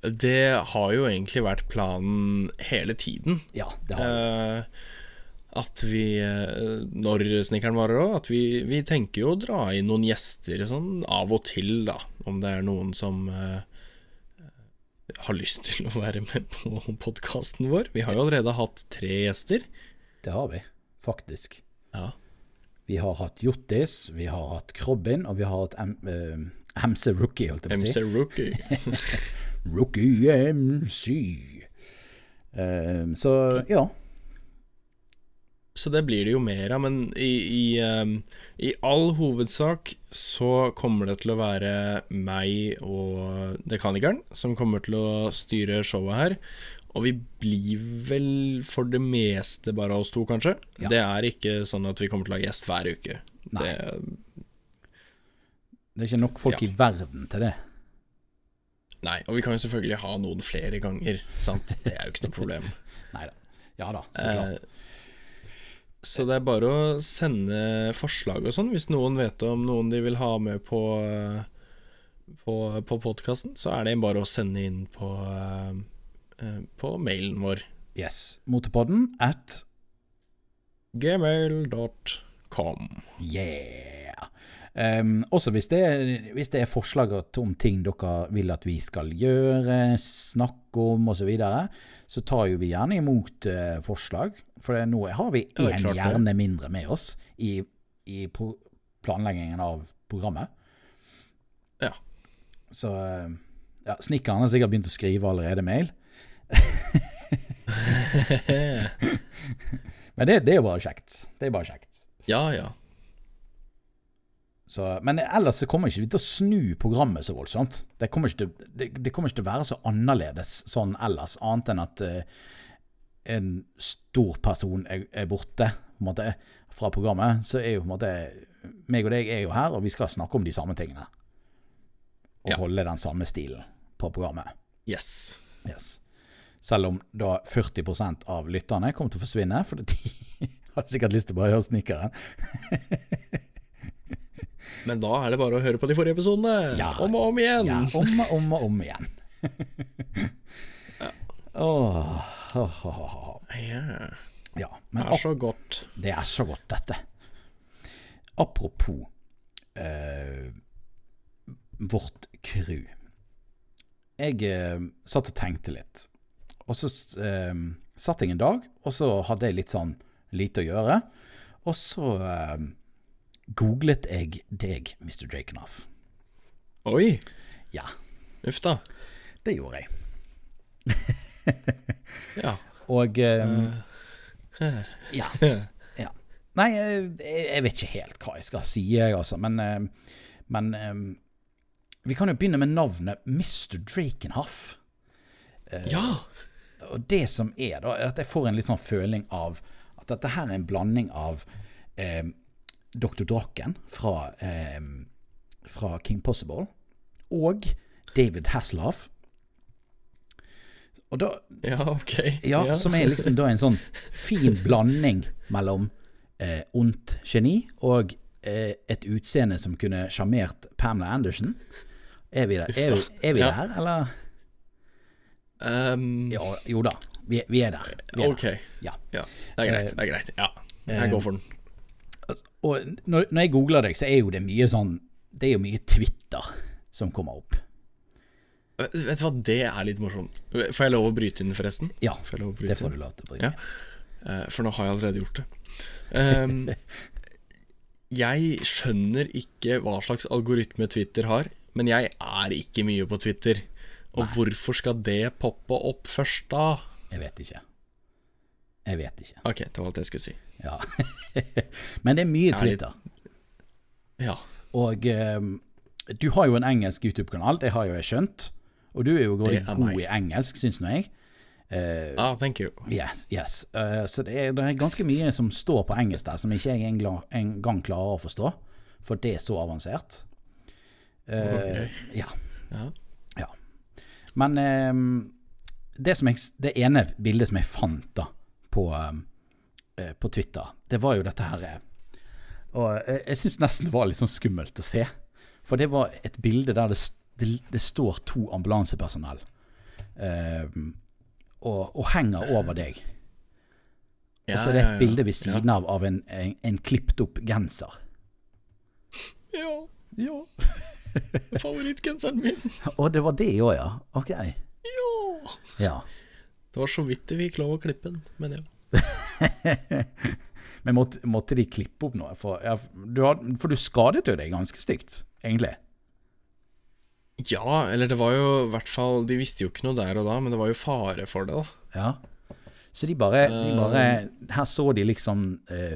S2: Det har jo egentlig vært planen hele tiden.
S1: Ja, det har vi.
S2: Eh, at vi, eh, når snekkeren varer òg, at vi, vi tenker jo å dra inn noen gjester sånn av og til, da. Om det er noen som eh, har lyst til å være med på podkasten vår. Vi har jo allerede hatt tre gjester.
S1: Det har vi, faktisk.
S2: Ja.
S1: Vi har hatt Hjortis, vi har hatt Krobbin, og vi har hatt M eh, MC Rookie, holdt jeg på å si.
S2: MC Rookie.
S1: Rookie MC. Ehm, så ja.
S2: Så det blir det jo mer av, men i, i, ehm, i all hovedsak så kommer det til å være meg og dekanikeren som kommer til å styre showet her. Og vi blir vel for det meste bare oss to, kanskje.
S1: Ja.
S2: Det er ikke sånn at vi kommer til å ha gjest hver uke.
S1: Nei.
S2: Det,
S1: Det er ikke nok folk
S2: Ja.
S1: i verden til det.
S2: nei. Og vi kan jo selvfølgelig ha noen flere ganger, sant. Det er jo ikke noe problem.
S1: Nei da. Ja da, så
S2: Eh,
S1: klart.
S2: Så det er bare å sende forslag og sånn. Hvis noen vet om noen de vil ha med på eh, På, på podkasten, så er det bare å sende inn på eh, eh, På mailen vår.
S1: Yes. Motorpodden at
S2: Gmail.com.
S1: yeah. Ehm, også hvis det, er, hvis det er forslag om ting dere vil at vi skal gjøre, snakke om osv., så, videre, så tar jo vi gjerne imot eh, forslag. For det, nå har vi
S2: Ja, det er
S1: én
S2: klart det.
S1: hjerne mindre med oss i, i pro planleggingen av programmet.
S2: Ja.
S1: Så eh, ja, Snekkeren har sikkert begynt å skrive allerede mail. Men det, det er jo bare kjekt. Det er bare kjekt.
S2: (laughs) ja, ja.
S1: Så, men ellers så kommer ikke vi til å snu programmet så voldsomt. Det kommer ikke til, det, det kommer ikke til å være så annerledes sånn ellers, annet enn at eh, en stor person er, er borte på en måte, fra programmet. Så er jo på en måte meg og deg er jo her, og vi skal snakke om de samme tingene. Og
S2: Ja.
S1: holde den samme stilen på programmet.
S2: Yes.
S1: Yes. Selv om da 40 av lytterne kommer til å forsvinne, for de (laughs) har sikkert lyst til å bare høre snikeren.
S2: Men da er det bare å høre på de forrige episodene.
S1: Ja.
S2: Om og om igjen.
S1: Ja, om og om og om
S2: (laughs)
S1: igjen. Åh, åh, åh, åh, åh.
S2: Ja.
S1: Ja, men
S2: Det er så godt.
S1: ap- det er så godt, dette. Apropos eh, vårt crew. Jeg eh, satt og tenkte litt. Og så eh, satt jeg en dag, og så hadde jeg litt sånn lite å gjøre. Og så eh, googlet jeg deg, Mr. Drakenhoff.
S2: Oi.
S1: Ja,
S2: Uff da.
S1: det gjorde jeg.
S2: Ja.
S1: Og eh,
S2: Eh. (laughs)
S1: ja. ja. Nei, eh, jeg jeg vet ikke helt hva jeg skal si, jeg, altså. Men, eh, men eh, vi kan jo begynne med navnet Mr. Drakenhoff.
S2: Ja.
S1: Og det som er, da, er at jeg får en litt sånn føling av at dette her er en blanding av eh, Dr. Draken fra, eh, fra King Possible og David Hasselhoff. Og da,
S2: Ja, ok.
S1: Ja, som er liksom da en sånn fin blanding mellom eh, ondt geni og eh, et utseende som kunne sjarmert Pamela Andersen. Er vi der, er vi, er vi
S2: Ja.
S1: der eller?
S2: Ehm,
S1: Ja, jo da, vi, vi er der. Vi er
S2: Ok.
S1: der. Ja.
S2: Ja. Det er greit. Det er greit. Ja. Jeg går for den.
S1: Og når, når jeg googler deg, så er jo det mye sånn Det er jo mye Twitter som kommer opp.
S2: Vet vet du hva, det er litt morsomt. Får jeg lov å bryte inn, forresten?
S1: Ja,
S2: Får jeg lov å bryte
S1: det
S2: inn?
S1: får du lov til å bryte.
S2: Ja. Eh, For nå har jeg allerede gjort det.
S1: (laughs)
S2: Ehm, jeg skjønner ikke hva slags algoritme Twitter har, men jeg er ikke mye på Twitter. Og hvorfor skal det poppe opp først, da?
S1: Jeg vet ikke. Jeg vet ikke.
S2: Ok, det var alt jeg skulle si.
S1: Ja. (laughs) Men det er mye
S2: litt-
S1: Twitter.
S2: Ja.
S1: Og ehm, du har jo en engelsk YouTube-kanal, det har jo jeg skjønt. Og du er jo god,
S2: Det er
S1: god
S2: meg.
S1: i engelsk, syns nå jeg. Eh,
S2: Ah, thank you.
S1: yes, yes. Eh, så det er, det er ganske mye som står på engelsk der, som ikke jeg engla- engang klarer å forstå. For det er så avansert. Eh,
S2: Ok.
S1: Ja.
S2: Ja.
S1: Ja. Men ehm, det, som jeg, s- det ene bildet som jeg fant da på, ehm, eh, på Twitter, det var jo dette her eh, Og jeg, jeg syns nesten det var litt sånn skummelt å se. For det var et bilde der det, s- det, det står to ambulansepersonell ehm, og, og henger over deg. Og så er
S2: Ja,
S1: Altså, det
S2: ja, ja.
S1: et bilde ved siden av av en, en, en klippet opp genser. (laughs)
S2: Ja. ja. (laughs) Favorittgenseren min.
S1: Og det var det òg, ja. Ok.
S2: Ja.
S1: Ja. (laughs)
S2: Det var så vidt vi fikk lov å klippe den, men ja.
S1: Men måtte, måtte de klippe opp noe? For, ja, du har, for du skadet jo deg ganske stygt, egentlig.
S2: Ja, eller det var jo i hvert fall De visste jo ikke noe der og da, men det var jo fare for det, da.
S1: Ja. Så de bare,
S2: Eh.
S1: de bare Her så de liksom eh,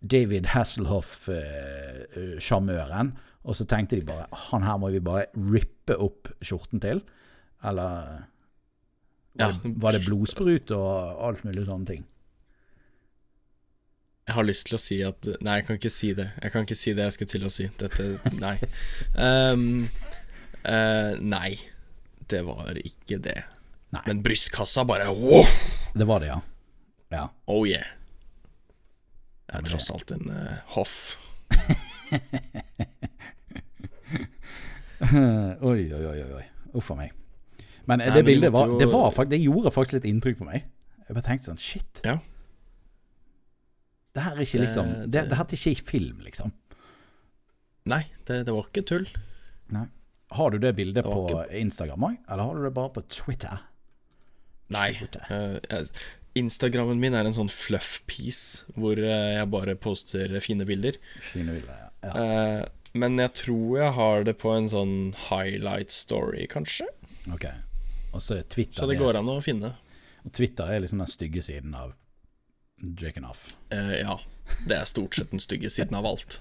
S1: David Hasselhoff-sjarmøren, og så tenkte de bare Han her må vi bare rippe opp skjorten til. Eller
S2: Ja.
S1: var det blodsprut og alt mulig sånne ting?
S2: Jeg har lyst til å si at Nei, jeg kan ikke si det. Jeg kan ikke si det jeg skal til å si. Dette Nei. Ehm, eh, nei, det var ikke det.
S1: Nei.
S2: Men brystkassa bare wow!
S1: Det var
S2: (laughs)
S1: det, ja. Ja.
S2: Oh yeah. Det er tross alt en eh, hoff.
S1: Oi, oi, oi. oi, oi. Uff a meg. Men eh, det
S2: Nei, men de
S1: bildet
S2: måtte
S1: var,
S2: jo-
S1: det, var fakt, det gjorde faktisk litt inntrykk på meg. Jeg bare tenkte sånn Shit.
S2: Ja.
S1: Det her er ikke liksom Det,
S2: Det-
S1: det, her er ikke i film, liksom.
S2: Nei, det, det var ikke tull.
S1: Har du det bildet
S2: Det
S1: på
S2: var
S1: Instagram òg, eller har du det bare på Twitter?
S2: Nei.
S1: Twitter.
S2: Eh, jeg- Instagrammen min er en sånn fluff piece hvor eh, jeg bare poster fine bilder.
S1: Fine bilder, ja. Ja.
S2: Eh, Men jeg tror jeg har det på en sånn highlight story, kanskje.
S1: Ok. Og så er Twitter
S2: Så det går an å finne.
S1: Og Twitter er liksom den stygge siden av Jake and Off.
S2: Eh, ja. Det er stort sett den stygge siden av alt.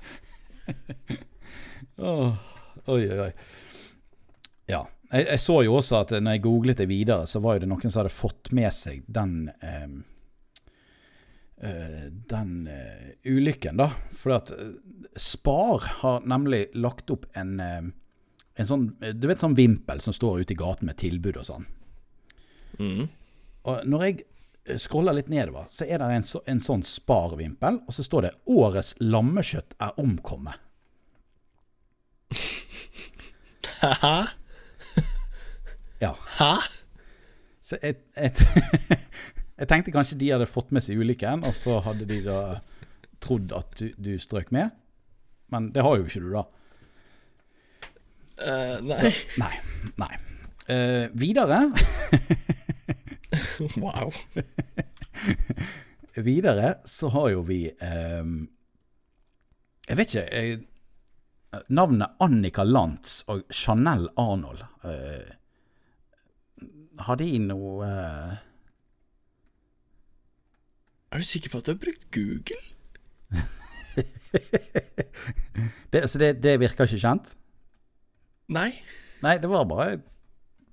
S1: Åh, oi, oi, oi. Ja. Jeg, jeg så jo også at når jeg googlet det videre, så var jo det noen som hadde fått med seg den ehm, eh, den eh, ulykken, da. Fordi at eh, Spar har nemlig lagt opp en eh, en sånn, eh, du vet sånn vimpel som står ute i gaten med tilbud og sånn.
S2: Mm.
S1: Og når jeg eh, scroller litt nedover, så er det en, så, en sånn Spar-vimpel, og så står det 'Årets lammekjøtt er omkommet'.
S2: Hæ?
S1: Ja.
S2: Hæ?
S1: Så jeg, jeg, (laughs) jeg tenkte kanskje de hadde fått med seg ulykken, og så hadde de da trodd at du, du strøk med. Men det har jo ikke du, da.
S2: Eh, nei.
S1: Nei. nei. Eh, videre
S2: (laughs) Wow.
S1: Videre så har jo vi eh, Jeg vet ikke jeg, Navnet Annika Lantz og Chanel Arnold eh, Har de noe eh, (laughs)
S2: Er du sikker på at du har brukt Google?
S1: det, Så det, det virker ikke kjent?
S2: Nei.
S1: Nei, det var bare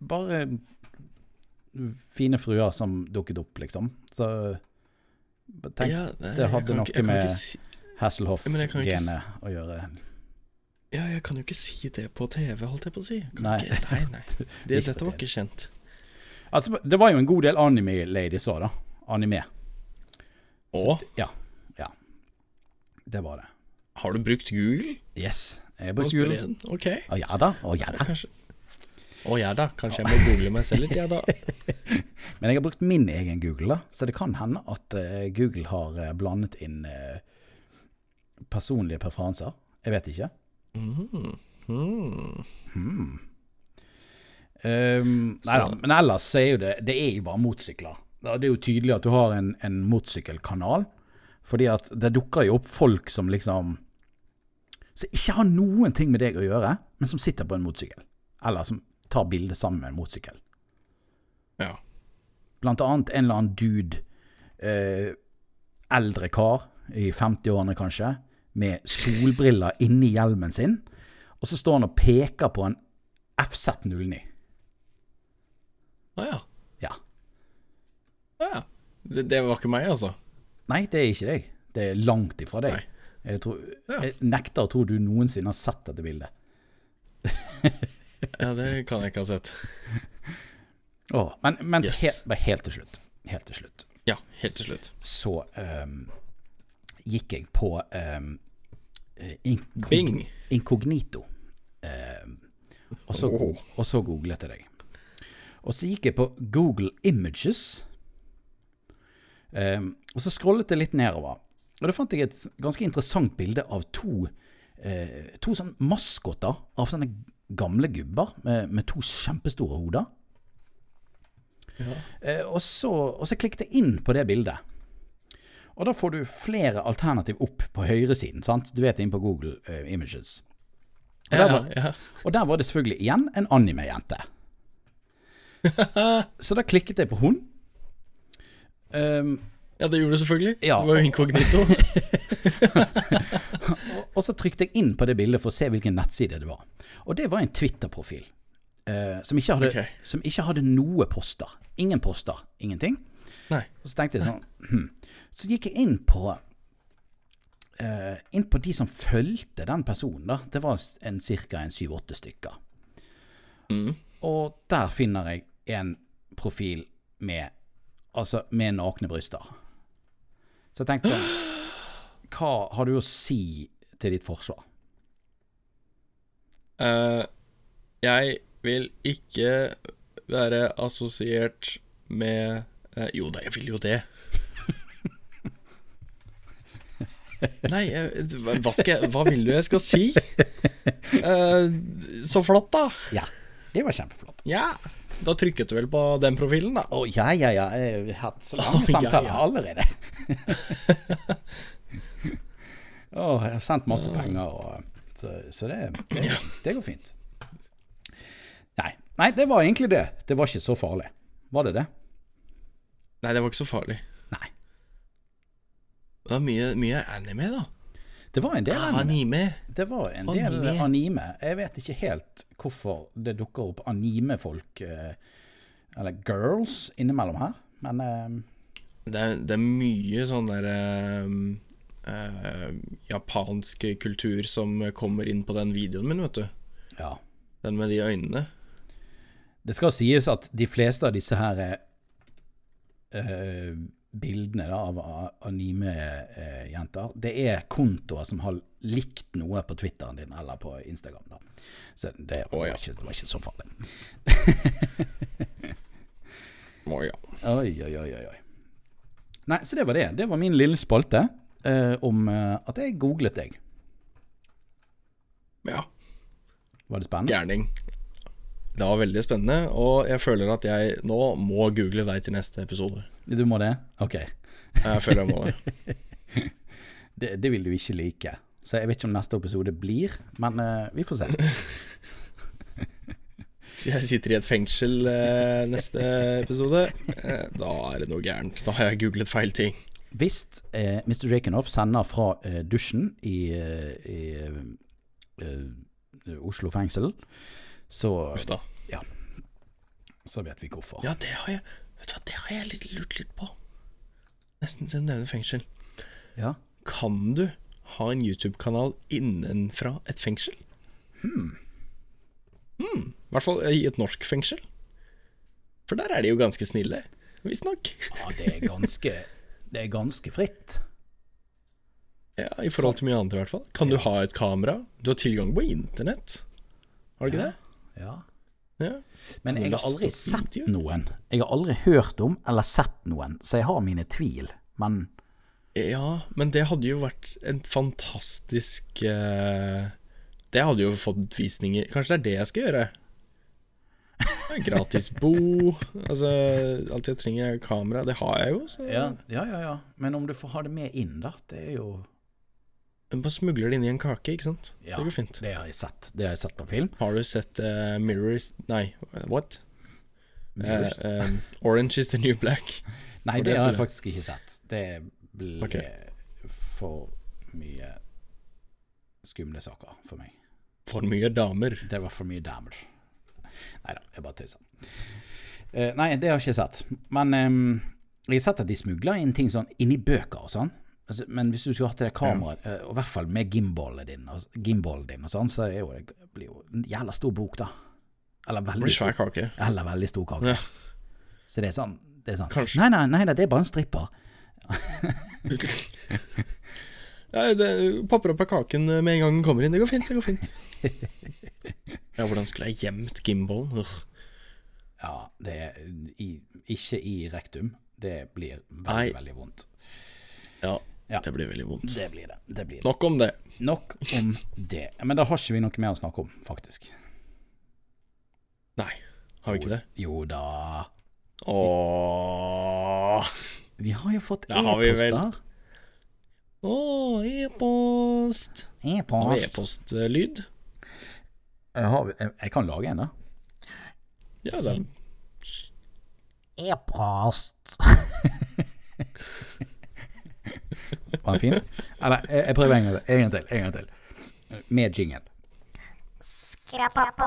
S1: Bare fine fruer som dukket opp, liksom. Så tenk
S2: Ja, nei,
S1: det hadde
S2: jeg kan
S1: noe
S2: ikke- jeg kan
S1: med-
S2: ikke si, Ja, men jeg kan ikke s-
S1: Hasselhoff-genet å gjøre.
S2: Ja, jeg kan jo ikke si det på TV, holdt jeg på å si. Kan
S1: Nei.
S2: Ikke, nei, (laughs) nei. Det,
S1: Ikke
S2: dette
S1: på
S2: var
S1: TV.
S2: ikke kjent.
S1: Altså, det var jo en god del anime-ladies òg, da. Anime.
S2: Å,
S1: Det var det.
S2: har du brukt Google?
S1: Yes. Jeg
S2: Nå
S1: brukte
S2: spør jeg
S1: julen.
S2: igjen. Ok.
S1: Å ja da. Å ja da.
S2: Kanskje Å ja da, kanskje jeg må google meg selv litt, ja (laughs) da.
S1: Men jeg har brukt min egen Google, da. Så det kan hende at eh, Google har eh, blandet inn eh, personlige preferanser. Jeg vet ikke.
S2: Mm. Mm.
S1: Hmm. Um,
S2: Så-
S1: nei da, men ellers så er jo det Det er jo bare motorsykler. Da, Det er jo tydelig at du har en, en motorsykkelkanal. Fordi at det dukker jo opp folk som liksom Som ikke har noen ting med deg å gjøre, men som sitter på en motorsykkel. Eller som tar bilde sammen med en motorsykkel.
S2: Ja.
S1: Blant annet en eller annen dude, eh, eldre kar i 50-årene kanskje, med solbriller inni hjelmen sin. Og så står han og peker på en FZ09.
S2: Å ja.
S1: Ja.
S2: ja. Det, det var ikke meg, altså.
S1: Nei, det er ikke deg. Det er langt ifra deg.
S2: Nei.
S1: Jeg, tror,
S2: Ja.
S1: jeg nekter å tro du noensinne har sett dette bildet.
S2: Ja, det kan jeg ikke ha sett.
S1: Åh, men men
S2: Yes.
S1: helt, bare helt til slutt. Helt til slutt.
S2: Ja, helt til slutt.
S1: Så ehm, gikk jeg på ehm, eh, inkog-
S2: Bing.
S1: inkognito. Ehm, og, så,
S2: Åh.
S1: og så googlet jeg deg. Og så gikk jeg på Google Images. Ehm, og så scrollet jeg litt nedover. Og da fant jeg et ganske interessant bilde av to, eh, to sånn maskotter av sånne gamle gubber med, med to kjempestore hoder.
S2: Ja.
S1: Eh, og, så, og så klikket jeg inn på det bildet. Og da får du flere alternativ opp på høyresiden, sant? Du vet inn på Google eh, Images. Og der,
S2: Ja,
S1: var,
S2: ja.
S1: og der var det selvfølgelig igjen en anime-jente. Så da klikket jeg på hun. Ehm,
S2: ja, det gjorde du selvfølgelig.
S1: Ja.
S2: Det var jo inkognito. (laughs)
S1: og så trykte jeg inn på det bildet for å se hvilken nettside det var. Og det var en Twitter-profil. eh, som, ikke hadde,
S2: Ok.
S1: som ikke hadde noe poster. Ingen poster. Ingenting.
S2: Nei.
S1: Og så tenkte jeg sånn hm. Så gikk jeg inn på eh, Inn på de som fulgte den personen, da. Det var en ca. syv-åtte stykker.
S2: Mm.
S1: Og der finner jeg en profil med Altså med nakne bryster. Så jeg tenkte sånn Hva har du å si til ditt forsvar?
S2: Eh, jeg vil ikke være assosiert med eh, Jo da, jeg vil jo det. Nei, jeg, hva, skal jeg, hva vil du jeg skal si? Eh, så flott, da.
S1: Ja, det var kjempeflott.
S2: Ja. Da trykket du vel på den profilen, da.
S1: Å ja, ja, ja. Jeg har hatt så
S2: Å,
S1: lange
S2: ja,
S1: samtaler
S2: ja.
S1: allerede. Å, jeg har sendt masse penger og Så, så det, det, det går fint. Nei. Nei, det var egentlig det. Det var ikke så farlig. Var det det?
S2: Nei, det var ikke så farlig.
S1: Nei.
S2: Det var mye, mye anime, da.
S1: Det var en del anime.
S2: Ah, Anime.
S1: Det var en del anime.
S2: Anime.
S1: Jeg vet ikke helt hvorfor det dukker opp anime-folk, eh, eller girls, innimellom her. Men eh,
S2: Det er, det er mye sånn der ehm, eh, Japansk kultur som kommer inn på den videoen min, vet du.
S1: ja.
S2: Den med de øynene.
S1: Det skal sies at de fleste av disse her eh, bildene da, av anime-jenter, det er kontoer som har likt noe på Twitteren din eller på Instagram. Da. Så det var,
S2: Å, ja.
S1: ikke, det var ikke så farlig.
S2: Å ja.
S1: Oi, oi, oi, oi. oi. Nei, så det var det. Det var min lille spalte eh, om eh, at jeg googlet deg.
S2: Ja.
S1: Var det spennende?
S2: Gærning. Det var veldig spennende, og jeg føler at jeg nå må google deg til neste episode.
S1: Du må det? Ok.
S2: Jeg føler jeg må (laughs) det.
S1: Det, det vil du ikke like. Så jeg vet ikke om neste episode blir, men eh, vi får se.
S2: Jeg sitter i et fengsel eh, neste episode. Eh, da er det noe gærent. Da har jeg googlet feil ting.
S1: Hvis eh, Mr. Jakenoff sender fra eh, dusjen i, eh, i eh, Oslo fengsel, så,
S2: Uff da.
S1: så vet vi hvorfor.
S2: Ja, det har jeg Vet du hva, det har jeg litt lurt litt på. Nesten som du nevner fengsel.
S1: Ja.
S2: Kan du ha en YouTube-kanal innenfra et fengsel? Hmm. I hvert fall i et norsk fengsel. For der er de jo ganske snille, visstnok.
S1: Ja, det er ganske, det er ganske fritt.
S2: Ja, I forhold til mye annet, i hvert fall. Kan du ha et kamera? Du har tilgang på internett, har du ikke det?
S1: Ja.
S2: Ja.
S1: Men
S2: Kan du
S1: jeg har
S2: laste
S1: aldri
S2: opp
S1: sett
S2: video?
S1: noen. Jeg har aldri hørt om eller sett noen, så jeg har mine tvil. Men
S2: ja, men det hadde jo vært en fantastisk eh, Det hadde jo fått visninger Kanskje det er det jeg skal gjøre? Gratis bo Altså, alt jeg trenger er kamera. Det har jeg jo. Så.
S1: ja, ja, ja, ja. Men om du får ha det med inn, da. Det er jo
S2: Men bare smugler det inn i en kake, ikke sant?
S1: ja,
S2: det går fint.
S1: Det har jeg sett. Det har jeg sett på film.
S2: Har du sett eh, Mirrors Nei, what? Eh,
S1: Mirrors?
S2: eh, Orange is the new black.
S1: Nei,
S2: og
S1: det
S2: det
S1: har jeg
S2: skulle-
S1: faktisk ikke sett. Det ble
S2: Ok.
S1: for mye skumle saker for meg.
S2: For mye damer.
S1: Det var for mye damage. Nei da, jeg bare tøyser. Eh, nei, det har jeg ikke sett. Men ehm, jeg har sett at de smugler inn ting sånn inni bøker og sånn. Altså, men hvis du skulle hatt det der kameraet, eh, og i hvert fall med gimballen din, og, gimballen din og sånn, så er jo, det blir jo en jævla stor bok, da. Eller
S2: Det blir
S1: veldig
S2: svær
S1: stor,
S2: kake.
S1: eller veldig stor kake.
S2: Ja.
S1: Så det er sånn, det er sånn
S2: Kanskje.
S1: Nei, nei, nei, nei, det er bare en stripper.
S2: (laughs) Nei, det popper opp av kaken med en gang den kommer inn. Det går fint, det går fint. (laughs) Ja, hvordan skulle jeg gjemt gimballen? Ugh.
S1: Ja, det er i, ikke i rektum. Det blir veldig,
S2: Nei.
S1: veldig vondt.
S2: Ja,
S1: Ja.
S2: det blir veldig vondt.
S1: Det blir det. det blir det.
S2: Nok om det.
S1: Nok om det. Men da har ikke vi noe mer å snakke om, faktisk.
S2: Nei, har vi ikke det?
S1: Jo da.
S2: Ååå.
S1: Vi har jo fått
S2: Da har vi vel-
S1: e-poster.
S2: Åh, e-post. Har vi
S1: E-post.
S2: e-postlyd?
S1: Jeg, har- jeg- jeg kan lage en, da.
S2: Ja, det er
S1: E-post. (laughs) Var den fin? Eller, jeg, jeg prøver en gang til. En gang til. En gang til. Med jingle.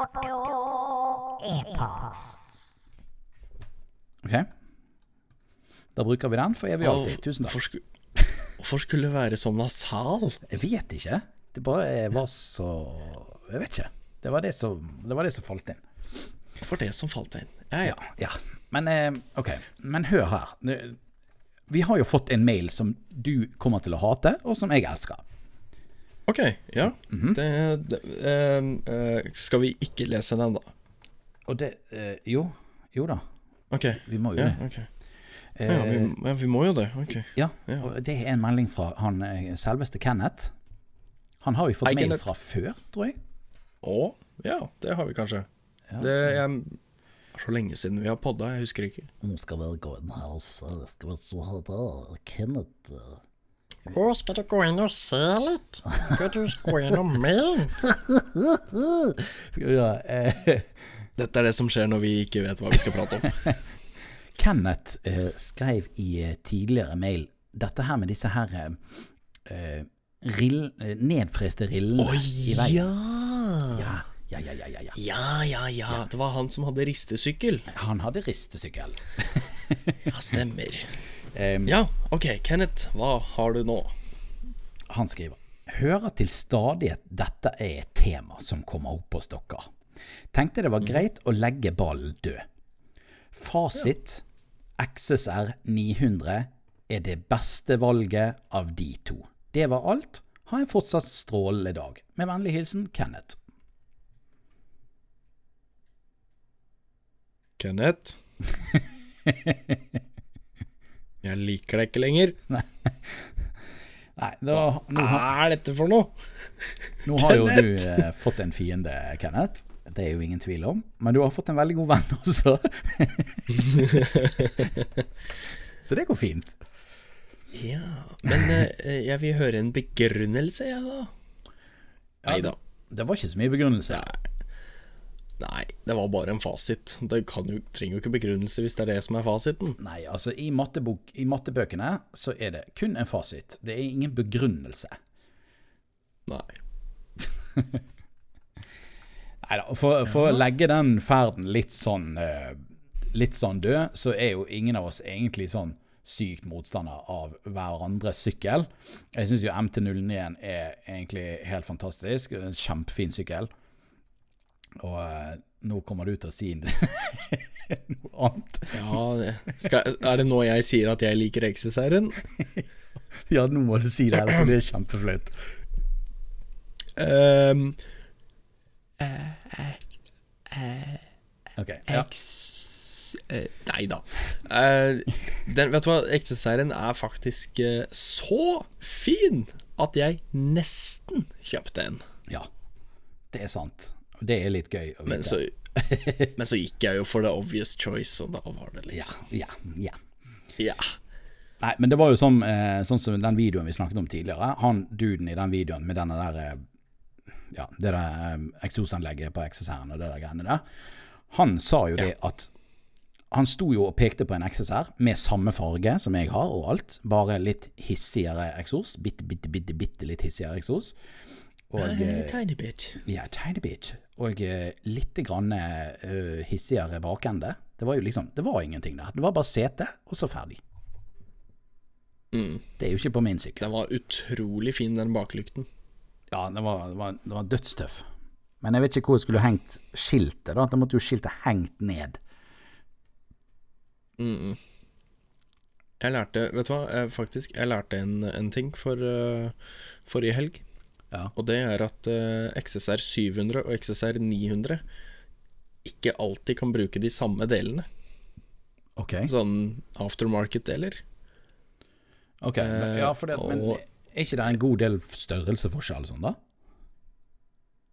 S3: Skrapaporto e-post.
S1: OK? Da bruker vi den for evig og alltid. Tusen takk.
S2: Hvorfor sku- (laughs) Hvorfor skulle det være så nasal?
S1: Jeg vet ikke. Det bare jeg var så Jeg vet ikke. Det var det som, det var det som falt inn.
S2: Det var det som falt inn. Ja, ja.
S1: Ja, men eh, ok, men hør her. Nu- Vi har jo fått en mail som du kommer til å hate, og som jeg elsker.
S2: Ok, ja. det, det, ehm, eh, skal vi ikke lese den, da?
S1: Og det eh, Jo, jo da,
S2: Ok.
S1: vi må jo
S2: Ja,
S1: det. Eh,
S2: ok. Ja, vi, ja, vi må jo det. Ok.
S1: Ja, og det er en melding fra han eh, selveste Kenneth. Han har jo fått
S2: Hei,
S1: mail
S2: Kenneth.
S1: fra før, tror jeg.
S2: Å, ja, det har vi kanskje. det er så lenge siden vi har podda, jeg husker ikke.
S4: Nå skal vi gå inn her og se. Skal vi se her da, Kenneth. eh, Å, skal du gå inn og se litt? Skal du gå gjennom mer?
S1: Skal vi gjøre, eh,
S2: Dette er det som skjer når vi ikke vet hva vi skal prate om.
S1: Kenneth eh, skrev i eh, tidligere mail dette her med disse her eh, eh, rill, eh, nedfreste rillene i veien.
S2: ja. ja!
S1: Ja, ja, ja, ja, ja, ja.
S2: Ja, ja, Det var han som hadde ristesykkel.
S1: Han hadde ristesykkel.
S2: Ja, stemmer.
S1: Eh,
S2: Ja, ok, Kenneth, hva har du nå?
S1: Han skriver Hører til stadighet dette er et tema som kommer opp hos dere. Tenkte det var greit å legge ballen død. Fasit XSR 900 er det beste valget av de to. Det var alt. Ha en fortsatt strålende dag. Med vennlig hilsen Kenneth.
S2: Kenneth? Jeg liker deg ikke lenger.
S1: Nei, da, nå,
S2: Hva
S1: har-
S2: er dette for noe?
S1: nå har jo du eh, fått en fiende, Kenneth. Det er jo ingen tvil om. Men du har fått en veldig god venn også. (laughs) Så det går fint.
S2: Ja, men eh, jeg vil høre en begrunnelse, jeg, da. Nei da.
S1: Det var ikke så mye begrunnelse.
S2: Nei, det var bare en fasit. Det kan jo, trenger jo ikke begrunnelse hvis det er det som er fasiten.
S1: Nei, altså i, mattebok, i mattebøkene så er det kun en fasit. Det er ingen begrunnelse.
S2: Nei.
S1: Nei da, for, for å legge den ferden litt sånn, eh, litt sånn død, så er jo ingen av oss egentlig sånn sykt motstander av hverandres sykkel. Jeg syns jo MT-09 er egentlig helt fantastisk. En kjempefin sykkel. Og eh, nå kommer du til å si (laughs) noe annet.
S2: Ja, det- skal, er det nå jeg sier at jeg liker XSR-en?
S1: Ja, nå må du si det, ellers blir det kjempeflaut.
S2: Ehm,
S1: Ok, ja.
S2: eh, nei da. Eh, den, vet du hva, XSR-en er faktisk eh, så fin at jeg nesten kjøpte en.
S1: Ja, det er sant. Og det er litt gøy å vite.
S2: Men så,
S1: (laughs)
S2: men så gikk jeg jo for the obvious choice, og da var det
S1: ja,
S2: liksom
S1: ja, ja.
S2: Ja.
S1: Nei, men det var jo sånn, eh, sånn som den videoen vi snakket om tidligere. Han duden i den videoen med denne der eh, Ja, det der eh, eksosanlegget på XSR-en og det der greiene der. Han sa jo det at Han sto jo og pekte på en XSR med samme farge som jeg har og alt, bare litt hissigere eksos. Bitte, bitte, bitte, bitte litt hissigere eksos. Og eh,
S2: tiny bit.
S1: Ja, tiny bit. Og uh, litt grann eh, hissigere bakende. Det var jo liksom, det var ingenting der. Det var bare sete, og så ferdig.
S2: Mm.
S1: Det er jo ikke på min sykkel.
S2: Den var utrolig fin, den baklykten.
S1: Ja, det var, det var, det var dødstøff. Men jeg vet ikke hvor jeg skulle hengt skiltet. da. Da måtte jo skiltet hengt ned.
S2: Mm. Jeg lærte, vet du hva, jeg, faktisk, jeg lærte en, en ting for eh, forrige helg.
S1: Ja.
S2: Og det er at eh, XSR 700 og XSR 900 ikke alltid kan bruke de samme delene.
S1: Ok.
S2: Sånn aftermarket-deler.
S1: men, ja, for det, men
S2: og-
S1: er ikke det en god del størrelseforskjell sånn, da?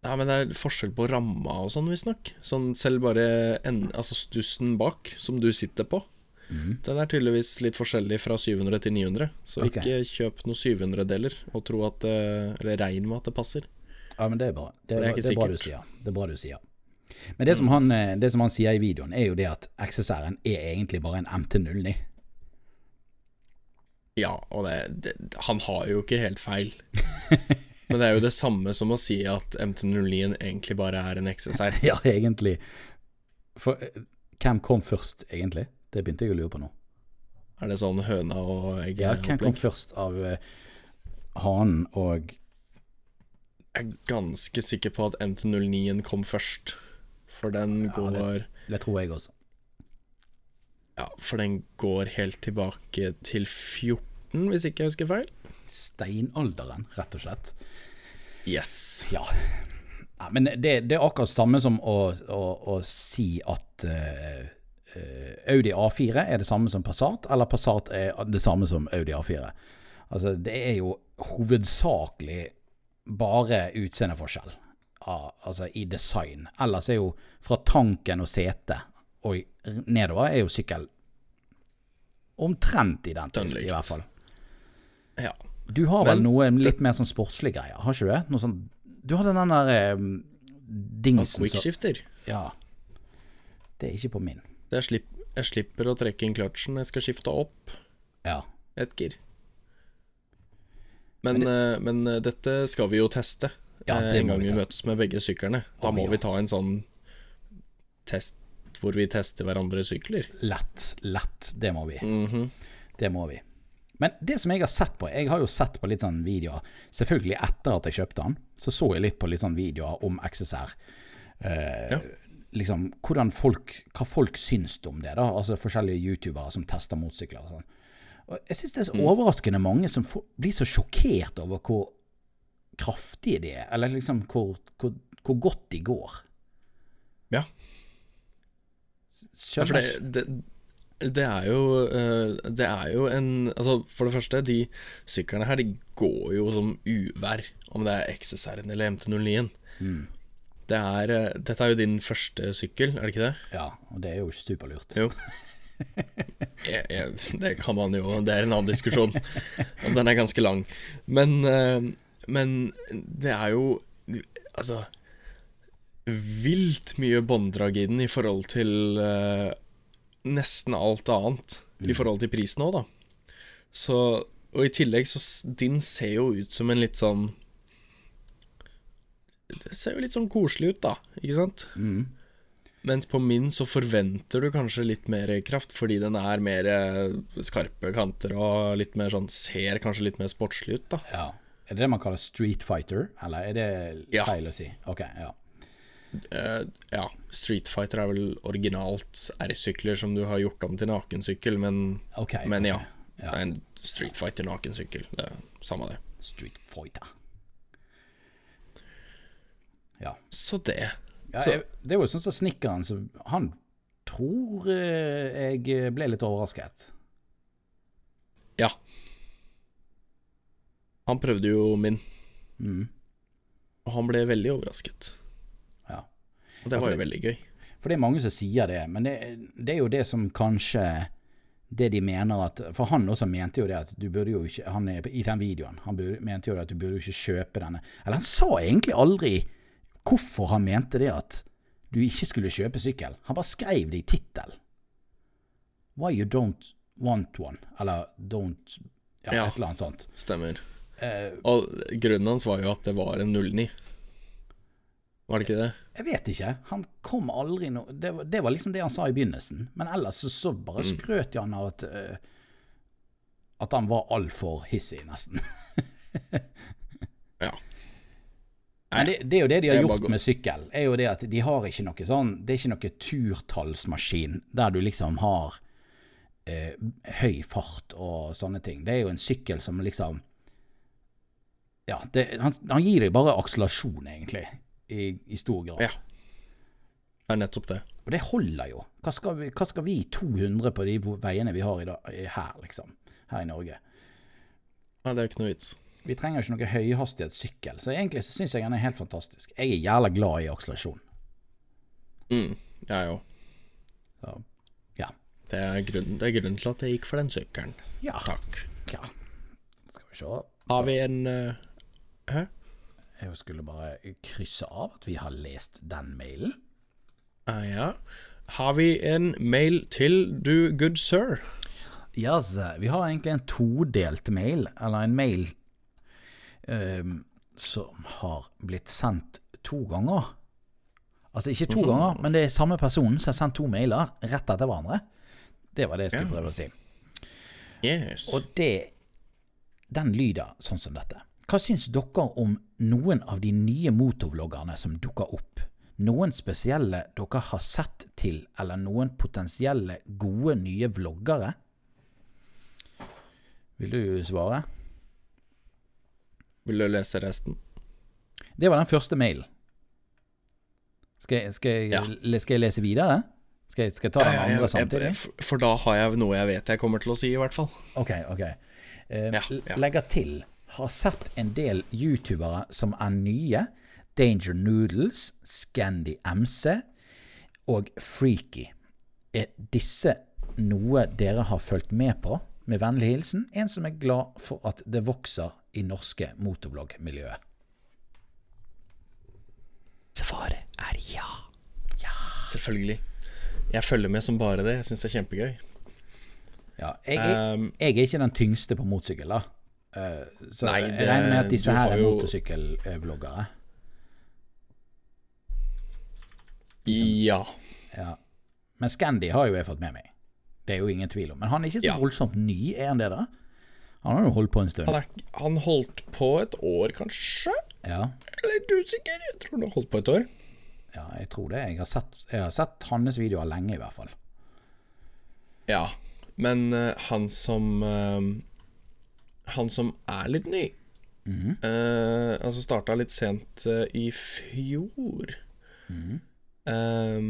S2: Nei, men det er forskjell på ramma og sånn, visstnok. Sånn selv bare en, altså stussen bak, som du sitter på.
S1: Mhm.
S2: Den er tydeligvis litt forskjellig fra 700 til 900, så
S1: Ok.
S2: ikke kjøp noen 700-deler og tro at eh, Eller regn med at det passer.
S1: Ja, men det er bra. Det er, det
S2: Det er
S1: er,
S2: ikke
S1: bra du sier. Det er bra du sier. Men det, som han, eh, det som han sier i videoen, er jo det at XSR-en er egentlig bare en MT-09.
S2: Ja, og det, det Han har jo ikke helt (laughs) feil. Men det er jo det samme som å si at MT09 egentlig bare er en XSR.
S1: (laughs) Ja, egentlig. For eh, hvem kom først, egentlig? Det begynte jeg å lure på nå. Eh,
S2: Er det sånn høna og
S1: Ja, hvem kom
S2: egget-opplegg?
S1: først av eh, hanen og
S2: Jeg er ganske sikker på at MT09 kom først. For den
S1: Ja, det-
S2: går
S1: Det tror jeg også.
S2: Ja, for den går helt tilbake til 14, hvis ikke jeg husker feil.
S1: Steinalderen, rett og slett.
S2: Yes.
S1: Ja. Nei, men det, det er akkurat samme som å, å, å si at eh, eh, Audi A4 er det samme som Passat, eller Passat er det samme som Audi A4. Altså, det er jo hovedsakelig bare utseendeforskjell ah, altså i design. Ellers er jo fra tanken og setet og nedover er jo sykkel omtrent identisk, i
S2: Dønnlikt.
S1: hvert fall.
S2: Ja.
S1: Du har vel
S2: Men
S1: noe litt mer sånn sportslig greie, har ikke du det? Noe sånn, du hadde den der eh, dingsen som
S2: Quickshifter.
S1: Ja. Det er ikke på min.
S2: Jeg, slipp, jeg slipper å trekke inn kløtsjen, jeg skal skifte opp
S1: Ja.
S2: et gir. Men, eh, men eh, dette skal vi jo teste
S1: Ja,
S2: eh,
S1: det
S2: en
S1: må
S2: gang
S1: vi
S2: vi
S1: teste.
S2: møtes med begge syklerne. Da
S1: Å,
S2: må
S1: ja.
S2: vi ta en sånn test hvor vi tester hverandres sykler.
S1: Lett. Lett. Det må vi.
S2: Mhm.
S1: Det må vi. Men det som jeg har sett på Jeg har jo sett på litt sånn videoer. Selvfølgelig etter at jeg kjøpte den, så så jeg litt på litt sånn videoer om XSR. Eh,
S2: Ja.
S1: Liksom hvordan folk Hva folk syns om det, da. Altså forskjellige youtubere som tester motsykler og sånn. Og jeg syns det er
S2: Mm.
S1: så overraskende mange som får, blir så sjokkert over hvor kraftige de er. Eller liksom hvor, hvor, hvor godt de går.
S2: Ja. Ja, for
S1: Skjønner
S2: det, det, det er jo eh, Det er jo en Altså, for det første, de syklene her, de går jo som uvær. Om det er XSR-en eller MT09-en. Det er eh, Dette er jo din første sykkel, er det ikke det?
S1: Ja, og det er jo superlurt.
S2: Jo. Jeg, jeg, det kan man jo Det er en annen diskusjon. Og den er ganske lang. Men, eh, men det er jo Altså Vilt mye bånddrag i den i forhold til eh, nesten alt annet. I forhold til prisen òg, da. Så Og i tillegg så s- Din ser jo ut som en litt sånn Det ser jo litt sånn koselig ut, da. Ikke sant? Mens på min så forventer du kanskje litt mer kraft, fordi den er mer eh, skarpe kanter og litt mer sånn Ser kanskje litt mer sportslig ut, da.
S1: Ja. Er det det man kaller street fighter, eller er det
S2: Ja.
S1: feil å si? Ok, ja.
S2: Eh, ja, Street Fighter er vel originalt R-sykler som du har gjort om til nakensykkel, men,
S1: Ok,
S2: men
S1: ok.
S2: ja.
S1: Ja.
S2: Det er en Street Fighter nakensykkel. Det er samme det.
S1: Street fighter. Ja.
S2: Så det.
S1: ja
S2: Så-
S1: jeg, det var jo sånn som snekkeren, så han tror eh, jeg ble litt overrasket.
S2: Ja. Han prøvde jo min,
S1: Mm.
S2: og han ble veldig overrasket.
S1: Ja.
S2: Og det
S1: for
S2: var jo
S1: det-
S2: veldig gøy.
S1: For det er mange som sier det, men det, det er jo det som kanskje det de mener at For han også mente jo det at du burde jo ikke Han er i den videoen. Han burde, mente jo det at du burde jo ikke kjøpe denne Eller han sa egentlig aldri hvorfor han mente det at du ikke skulle kjøpe sykkel. Han bare skrev det i tittelen. Why you don't want one. Eller don't Ja,
S2: Ja.
S1: et eller annet sånt.
S2: Stemmer.
S1: Eh,
S2: Og grunnen hans var jo at det var en 09. Var det ikke det?
S1: Jeg vet ikke. Han kom aldri no... Det var, det var liksom det han sa i begynnelsen. Men ellers så, så bare skrøt jo han av at eh, At han var altfor hissig, nesten.
S2: Ja.
S1: Men det, det er jo det de har
S2: Jeg bare
S1: gjort
S2: går-
S1: med sykkel. er jo det at De har ikke noe sånn Det er ikke noe turtallsmaskin der du liksom har eh, høy fart og sånne ting. Det er jo en sykkel som liksom Ja, det, han, han gir deg bare akselerasjon, egentlig, i, i stor grad.
S2: Ja. Det er nettopp det.
S1: Og det holder jo. Hva skal vi, hva skal vi 200 på de veiene vi har i dag, her, liksom? Her i Norge.
S2: Nei, det er ikke noe vits.
S1: Vi trenger jo ikke noe høyhastighetssykkel, så egentlig så syns jeg den er helt fantastisk. Jeg er jævla glad i akselerasjon.
S2: Mm. Jeg òg.
S1: Så, ja.
S2: Det, er grunnen- det er grunnen til at jeg gikk for den sykkelen.
S1: Ja.
S2: Takk.
S1: ja. Skal vi se.
S2: Har vi en eh, Hæ?
S1: Jeg skulle bare krysse av at vi har lest den mailen.
S2: Ah, ja. Har vi en mail til du, good sir?
S1: Yes, vi har egentlig en todelt mail, eller en mail ehm, som har blitt sendt to ganger. Altså ikke to ganger, men det er samme person som har sendt to mailer rett etter hverandre. Det var det jeg skulle prøve å si.
S2: Yes.
S1: Og det Den lyder sånn som dette. Hva syns dere om noen av de nye motorvloggerne som dukker opp? Noen spesielle dere har sett til, eller noen potensielle gode nye vloggere? Vil du svare?
S2: Vil du lese resten?
S1: Det var den første mailen. Skal, jeg- skal, jeg-
S2: Ja.
S1: le- skal jeg lese videre? Skal jeg, skal jeg ta den
S2: Jeg-
S1: andre
S2: jeg-
S1: samtidig?
S2: jeg- for da har jeg noe jeg vet jeg kommer til å si, i hvert fall.
S1: Ok, ok. Eh,
S2: Ja, ja.
S1: Legger til Har sett en del youtubere som er nye. Danger Noodles, Scandy MC og Freaky. Er disse noe dere har fulgt med på? Med vennlig hilsen en som er glad for at det vokser i norske motorbloggmiljøet.
S2: Svaret er ja. Selvfølgelig. Jeg følger med som bare det. Jeg syns det er kjempegøy.
S1: Ja, jeg, jeg,
S2: Um,
S1: jeg er ikke den tyngste på motorsykkel, da. Eh, Så
S2: Nei,
S1: jeg
S2: det-
S1: regner med at disse
S2: du
S1: her
S2: har
S1: er
S2: jo-
S1: motorsykkelvloggere.
S2: ja.
S1: Ja. Men Scandi har jo jeg fått med meg. Det er jo ingen tvil om. Men han er ikke så
S2: Ja.
S1: voldsomt ny, er han det? da? Han har jo holdt på en stund.
S2: Han, er, han holdt på et år, kanskje?
S1: Ja,
S2: Eller litt usikker. Jeg tror han har holdt på et år.
S1: ja jeg tror det. Jeg har sett, jeg har sett hans videoer lenge, i hvert fall.
S2: Ja. Men eh, han som eh, Han som er litt ny eh, Altså starta litt sent eh, i fjor. Mhm. Eh,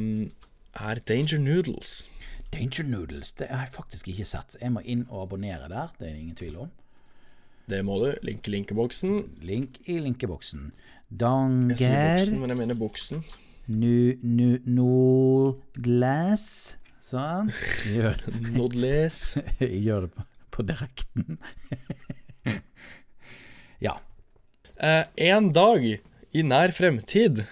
S2: er Danger Noodles.
S1: Danger Noodles det har jeg faktisk ikke sett. Jeg må inn og abonnere der, det er det ingen tvil om.
S2: Det må du. Linke linkeboksen.
S1: Link i linkeboksen.
S2: Jeg sier
S1: Danger
S2: boksen, men jeg mener buksen.
S1: nu, nu, Noodles Sånn. Gjør,
S2: Noodles.
S1: gjør det på, på direkten. (laughs) ja.
S2: Eh, en dag i nær fremtid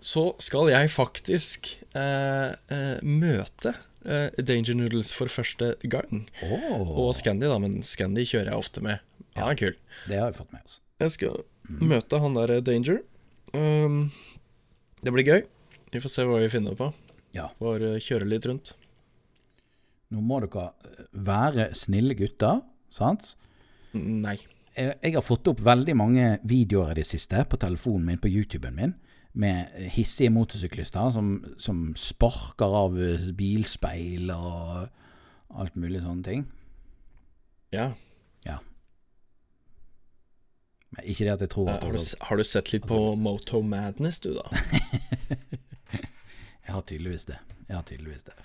S2: så skal jeg faktisk eh, eh, møte eh, Danger Noodles for første gang.
S1: Åh,
S2: Og Scandi, da, men Scandi kjører jeg ofte med. Han er kul.
S1: det har vi fått med oss.
S2: Jeg skal møte han der eh, Danger. Um, det blir gøy. Vi får se hva vi finner på.
S1: Ja.
S2: Får eh, kjøre litt rundt.
S1: Nå må dere eh, være snille gutter, sant?
S2: Nei.
S1: jeg, jeg har fått opp veldig mange videoer i det siste på telefonen min, på YouTuben min, med eh, hissige motorsyklister som, som sparker av eh, bilspeil og alt mulig sånne ting.
S2: Ja.
S1: Men ikke det at jeg tror
S2: Eh,
S1: at
S2: har, du, s- har du sett litt på Moto Madness, du, da?
S1: Jeg har tydeligvis det. Jeg har tydeligvis det.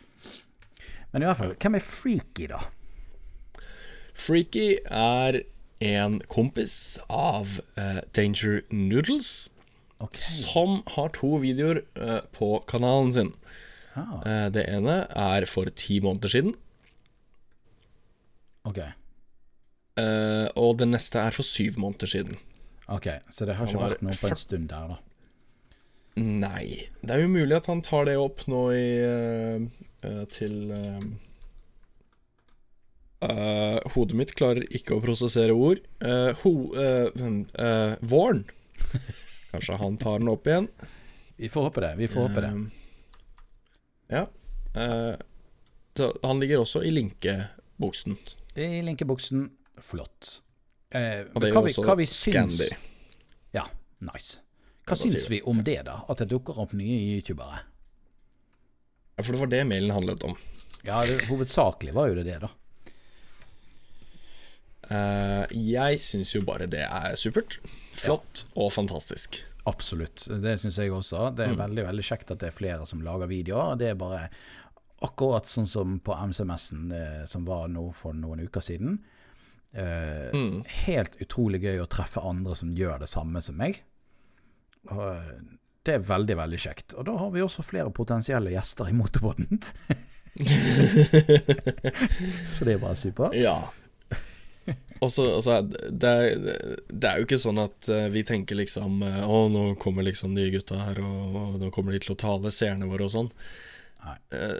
S1: Men i hvert fall, hvem er freaky, da?
S2: Freaky er en kompis av eh, Danger Noodles,
S1: Ok.
S2: som har to videoer eh, på kanalen sin.
S1: Ah,
S2: Eh, det ene er for ti måneder siden,
S1: ok.
S2: eh, og den neste er for syv måneder siden.
S1: Ok, Så det har ikke
S2: Han har
S1: vært noe på en stund der, da.
S2: Nei, det er jo mulig at han tar det opp nå i eh, eh, til eh, eh, hodet mitt klarer ikke å prosessere ord. Eh, ho, eh, hm, eh, våren. Kanskje han tar den opp igjen.
S1: Vi får håpe det. Vi får håpe det.
S2: Um, Ja. eh, så han ligger også i linkeboksen.
S1: I linkeboksen, flott. Eh,
S2: Og det
S1: hva
S2: gjør
S1: vi,
S2: også
S1: hva vi syns
S2: Scandi.
S1: Ja, nice. Hva
S2: da sier
S1: syns
S2: du.
S1: vi om det, da? At det dukker opp nye youtubere?
S2: Ja, For det var det mailen handlet om.
S1: Ja, det, hovedsakelig var jo det det, da.
S2: Eh, jeg syns jo bare det er supert. Flott og fantastisk.
S1: Absolutt. Det syns jeg også. Det
S2: Mm.
S1: er veldig veldig kjekt at det er flere som lager videoer. og Det er bare akkurat sånn som på MCMS-en eh, som var nå for noen uker siden. Eh,
S2: Mm.
S1: Helt utrolig gøy å treffe andre som gjør det samme som meg. Og eh, det er veldig, veldig kjekt. Og da har vi også flere potensielle gjester i
S2: (laughs)
S1: motorbåten. (laughs) Så det er bare supert.
S2: Ja. Og så, og så er det, det, er- det er jo ikke sånn at eh, vi tenker liksom eh, Å, nå kommer liksom de gutta her, og, og nå kommer de til å tale seerne våre og sånn.
S1: Nei.
S2: Eh,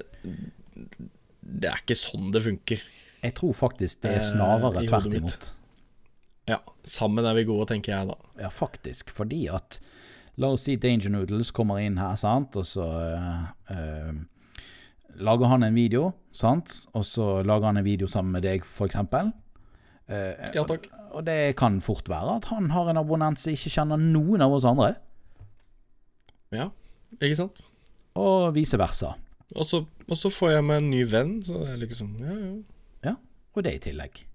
S2: det er ikke sånn det funker.
S1: Jeg tror faktisk det er
S2: Eh,
S1: snarere
S2: i hodet
S1: tvert
S2: mitt.
S1: imot.
S2: Ja, sammen er vi gode, tenker jeg da.
S1: Ja, faktisk. Fordi at La oss si Danger Noodles kommer inn her, sant, og så eh, eh, lager han en video, sant, og så lager han en video sammen med deg, for eksempel. Eh,
S2: Ja takk.
S1: Og det kan fort være at han har en abonnent som ikke kjenner noen av oss andre,
S2: Ja, ikke sant?
S1: og vice versa.
S2: Og så, og så får jeg meg en ny venn, så det er liksom ja, ja.
S1: Ja, og det i tillegg.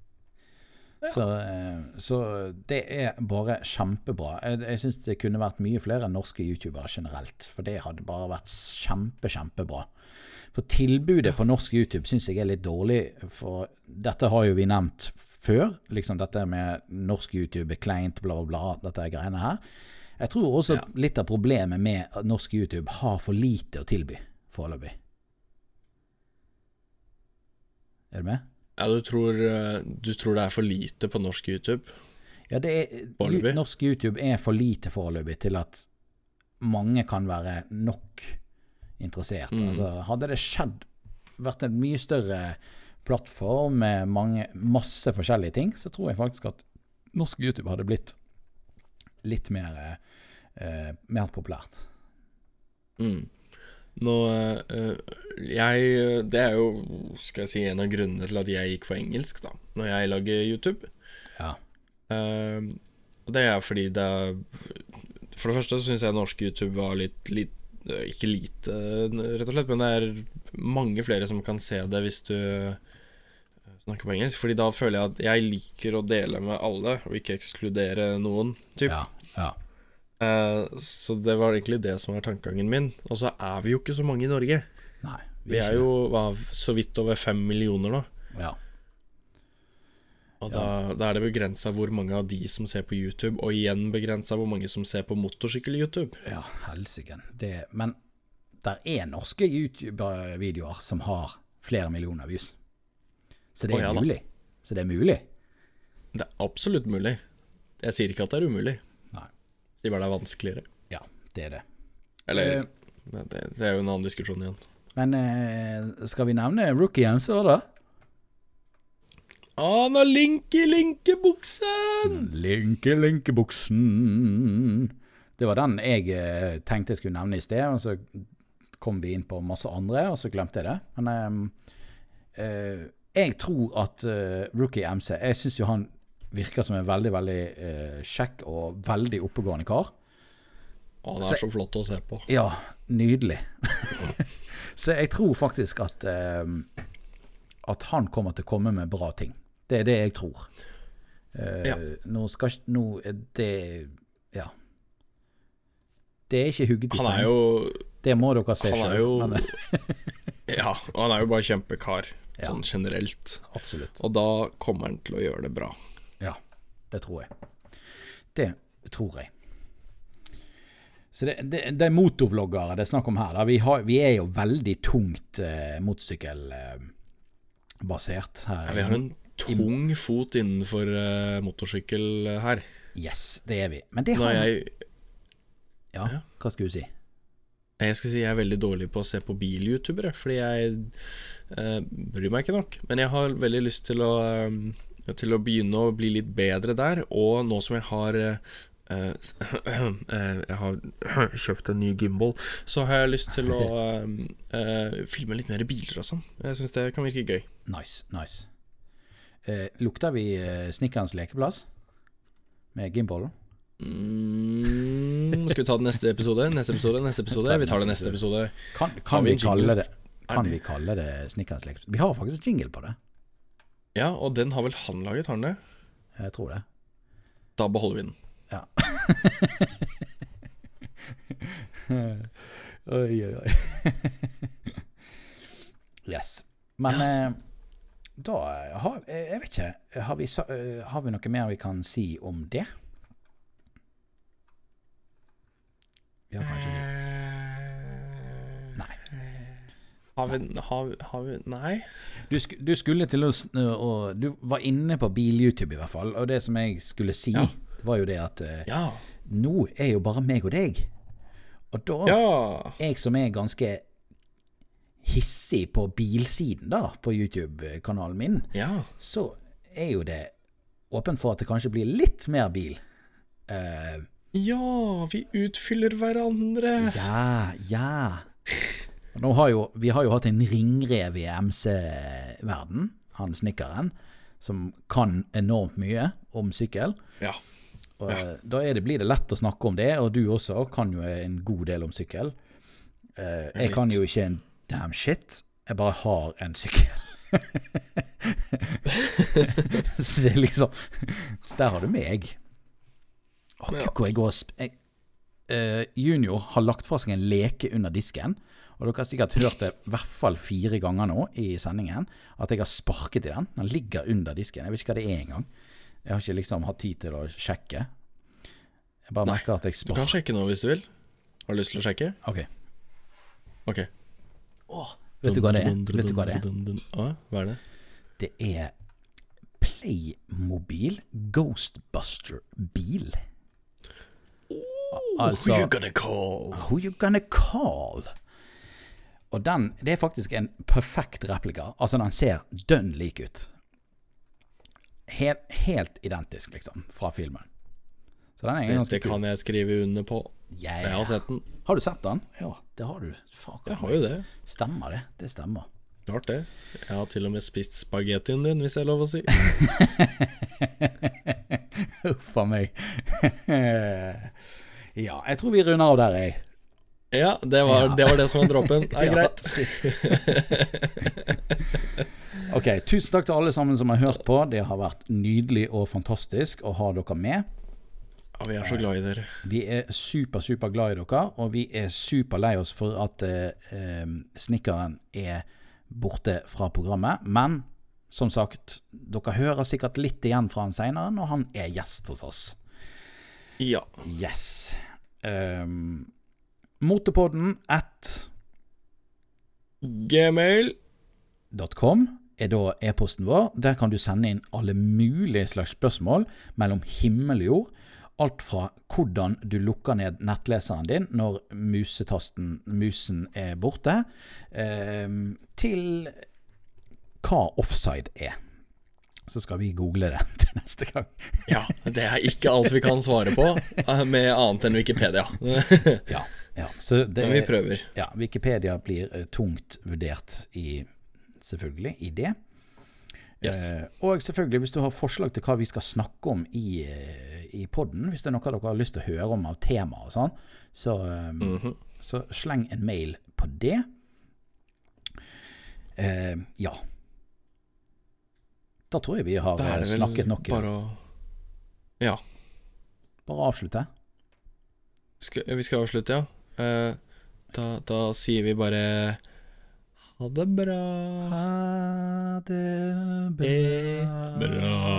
S1: Så, eh, så det er bare kjempebra. Jeg, jeg syns det kunne vært mye flere norske youtubere generelt, for det hadde bare vært kjempe, kjempebra. For tilbudet på norsk YouTube syns jeg er litt dårlig, for dette har jo vi nevnt før. Liksom dette med norsk YouTube er kleint, bla, bla, bla, dette er greiene her. Jeg tror også litt av problemet med at norsk YouTube har for lite å tilby foreløpig. Er du med?
S2: Ja, du tror, eh, du tror det er for lite på norsk YouTube?
S1: Ja, det er,
S2: Foreløpig.
S1: norsk YouTube er for lite foreløpig til at mange kan være nok interessert.
S2: Mm.
S1: Altså, hadde det skjedd, vært en mye større plattform med mange, masse forskjellige ting, så tror jeg faktisk at norsk YouTube hadde blitt litt mer, eh, mer populært.
S2: Mm. Nå, eh, jeg eh, Det er jo, skal jeg si, en av grunnene til at jeg gikk for engelsk, da, når jeg lager YouTube.
S1: Ja.
S2: Eh, Og det er fordi det er For det første syns jeg norsk YouTube var litt, litt eh, Ikke lite, eh, rett og slett, men det er mange flere som kan se det hvis du eh, snakker på engelsk. Fordi da føler jeg at jeg liker å dele med alle, og ikke ekskludere noen. Typ.
S1: Ja, ja.
S2: Eh, så det var egentlig det som var tankegangen min. Og så er vi jo ikke så mange i Norge.
S1: Nei.
S2: Vi er
S1: ikke
S2: jo hva, så vidt over fem millioner nå.
S1: det. ja.
S2: Og da, da er det begrensa hvor mange av de som ser på YouTube, og igjen begrensa hvor mange som ser på motorsykkel-YouTube.
S1: Ja, helsiken. Det, men der er norske YouTube-videoer som har flere millioner views. Så det
S2: Å,
S1: er
S2: ja da.
S1: mulig. Så det er mulig.
S2: Det er absolutt mulig. Jeg sier ikke at det er umulig.
S1: Nei.
S2: Sier bare det er vanskeligere.
S1: Ja, det er det.
S2: Eller
S1: Eh.
S2: det, det er jo en annen diskusjon igjen.
S1: Men eh, skal vi nevne rookien, så da?
S2: Ana Linke Linkebuksen!
S1: Linke, linkebuksen. Det var den jeg eh, tenkte jeg skulle nevne i sted, og så kom vi inn på masse andre, og så glemte jeg det. Men eh, eh, jeg tror at eh, Rookie MC Jeg syns jo han virker som en veldig, veldig eh, kjekk og veldig oppegående kar.
S2: Å, det er så flott å se på.
S1: Ja, nydelig. (laughs) så jeg tror faktisk at eh, at han kommer til å komme med bra ting. Det er det jeg tror. Eh,
S2: Ja.
S1: Nå skal ikke Nå er det Ja. Det er ikke hugget i
S2: Han
S1: stein.
S2: er jo
S1: det må dere se
S2: Han er
S1: selv.
S2: jo
S1: Men,
S2: Ja, og han er jo bare kjempekar,
S1: Ja.
S2: sånn generelt.
S1: absolutt.
S2: Og da kommer han til å gjøre det bra.
S1: Ja, det tror jeg. Det tror jeg. Så det, det, det er motorvloggere det er snakk om her. Da. Vi, har, vi er jo veldig tungt eh, motorsykkelbasert her.
S2: Ja, vi har en tung fot innenfor eh, motorsykkel her.
S1: Yes, det er vi. Men det
S2: Når
S1: har
S2: jeg,
S1: Ja, hva skulle du si?
S2: jeg skal si jeg er veldig dårlig på å se på bil-youtubere, fordi jeg eh, bryr meg ikke nok. Men jeg har veldig lyst til å, eh, til å begynne å bli litt bedre der, og nå som jeg har eh, (clears throat) eh, s- eh, jeg har (clears throat) kjøpt en ny gimbal. Så har jeg lyst til å eh, eh, filme litt mer biler og sånn. Jeg syns det kan virke gøy.
S1: Nice, nice. Eh, lukter vi eh, snikkerens lekeplass med gimballen?
S2: Mm, skal vi ta det neste episode? Neste episode, neste episode. Vi tar det neste episode.
S1: Kan,
S2: Har
S1: kan,
S2: vi
S1: vi
S2: en jingle?
S1: kalle det, kan
S2: det-
S1: vi kalle det snikkerens lekeplass? Vi har faktisk jingle på det.
S2: Ja, og den har vel han laget, har han det?
S1: Jeg tror det.
S2: Da beholder vi den. (laughs)
S1: Oi, oi, oi. (laughs) yes. Men
S2: Yes.
S1: eh, da har eh, Jeg vet ikke. Har vi, sa- eh, har vi noe mer vi kan si om det? Vi har kanskje ikke Nei.
S2: Har vi, har, vi- har vi Nei.
S1: Du, sku, du skulle til å, sn- å Du var inne på bil-YouTube, i hvert fall. Og det som jeg skulle si,
S2: Ja.
S1: var jo det at eh,
S2: Ja.
S1: nå er jo bare meg og deg. Og da
S2: Ja.
S1: Jeg som er ganske hissig på bilsiden, da, på YouTube-kanalen min,
S2: ja.
S1: så er jo det åpent for at det kanskje blir litt mer bil. Eh,
S2: Ja, vi utfyller hverandre.
S1: ja, ja. Og Nå har jo, vi har jo hatt en ringrev i MC-verden, han snekkeren, som kan enormt mye om sykkel.
S2: Ja.
S1: Og eh, Da er det, blir det lett å snakke om det, og du også kan jo en god del om sykkel. Eh, jeg kan jo ikke en damn shit, jeg bare har en sykkel. (laughs) Så det er liksom Der har du meg. Å,
S2: Ja.
S1: kukko, jeg går og sp... Jeg, eh, junior har lagt fra seg en leke under disken, og dere har sikkert hørt det i hvert fall fire ganger nå i sendingen, at jeg har sparket i den. Den ligger under disken. Jeg vet ikke hva det er engang. Jeg har ikke liksom hatt tid til å sjekke. Jeg bare
S2: Nei,
S1: merker at jeg
S2: Du kan
S1: sparker
S2: sjekke nå hvis du vil. Har du lyst til å sjekke?
S1: Ok.
S2: Ok.
S1: Vet du hva det er? Vet du hva det er?
S2: Dun, dun, dun, dun, dun. Å, hva er det?
S1: Det er Playmobil Ghostbuster-bil. Altså-
S2: Who you gonna call?
S1: Who you gonna call? Og den, det er faktisk en perfekt replika. Altså, den ser dønn lik ut. Helt, helt identisk, liksom, fra filmen. Så den er ganske
S2: Dette
S1: kul.
S2: kan jeg skrive under på.
S1: Yeah.
S2: Jeg har sett den.
S1: Har du sett den? Ja, det har du. Fuck,
S2: Jeg har jo det.
S1: Stemmer det. Det stemmer. (laughs)
S2: Klart det. Jeg har til og med spist spagettien din, hvis det er lov
S1: (laughs)
S2: å si.
S1: Huff a meg. (laughs) ja, jeg tror vi runder av der, jeg.
S2: Ja, det var det, var det som var dråpen. Det
S1: (laughs)
S2: er
S1: Ja.
S2: greit.
S1: Ok, tusen takk til alle sammen som har hørt på. Det har vært nydelig og fantastisk å ha dere med.
S2: Ja, vi er så glad i dere.
S1: Vi er super, super glad i dere, og vi er super lei oss for at eh, eh, snekkeren er borte fra programmet. Men som sagt, dere hører sikkert litt igjen fra han seinere når han er gjest hos oss.
S2: Ja.
S1: Yes. Um, Motepodden at
S2: Gmail.
S1: .com er da e-posten vår. Der kan du sende inn alle mulige slags spørsmål mellom himmel og jord. Alt fra hvordan du lukker ned nettleseren din når musetasten, musen er borte, ehm, til hva offside er. Så skal vi google det (laughs) til neste gang.
S2: Ja, det er ikke alt vi kan svare på eh, med annet enn Wikipedia. (laughs) Men
S1: Ja, ja. Så det,
S2: vi prøver.
S1: ja, Wikipedia blir eh, tungt vurdert i selvfølgelig i det.
S2: Yes.
S1: Eh, og selvfølgelig, hvis du har forslag til hva vi skal snakke om i, eh, i podden, hvis det er noe dere har lyst til å høre om av tema og sånn, så, eh,
S2: Mhm.
S1: så sleng en mail på det. Eh, ja. Da tror jeg vi har
S2: Da
S1: eh,
S2: er det vel
S1: snakket nok. Bare,
S2: bare å Ja.
S1: bare avslutte.
S2: Skal, vi skal avslutte, ja. Eh, da, da sier vi bare ha det bra.
S1: Ha det
S2: Eh, bra.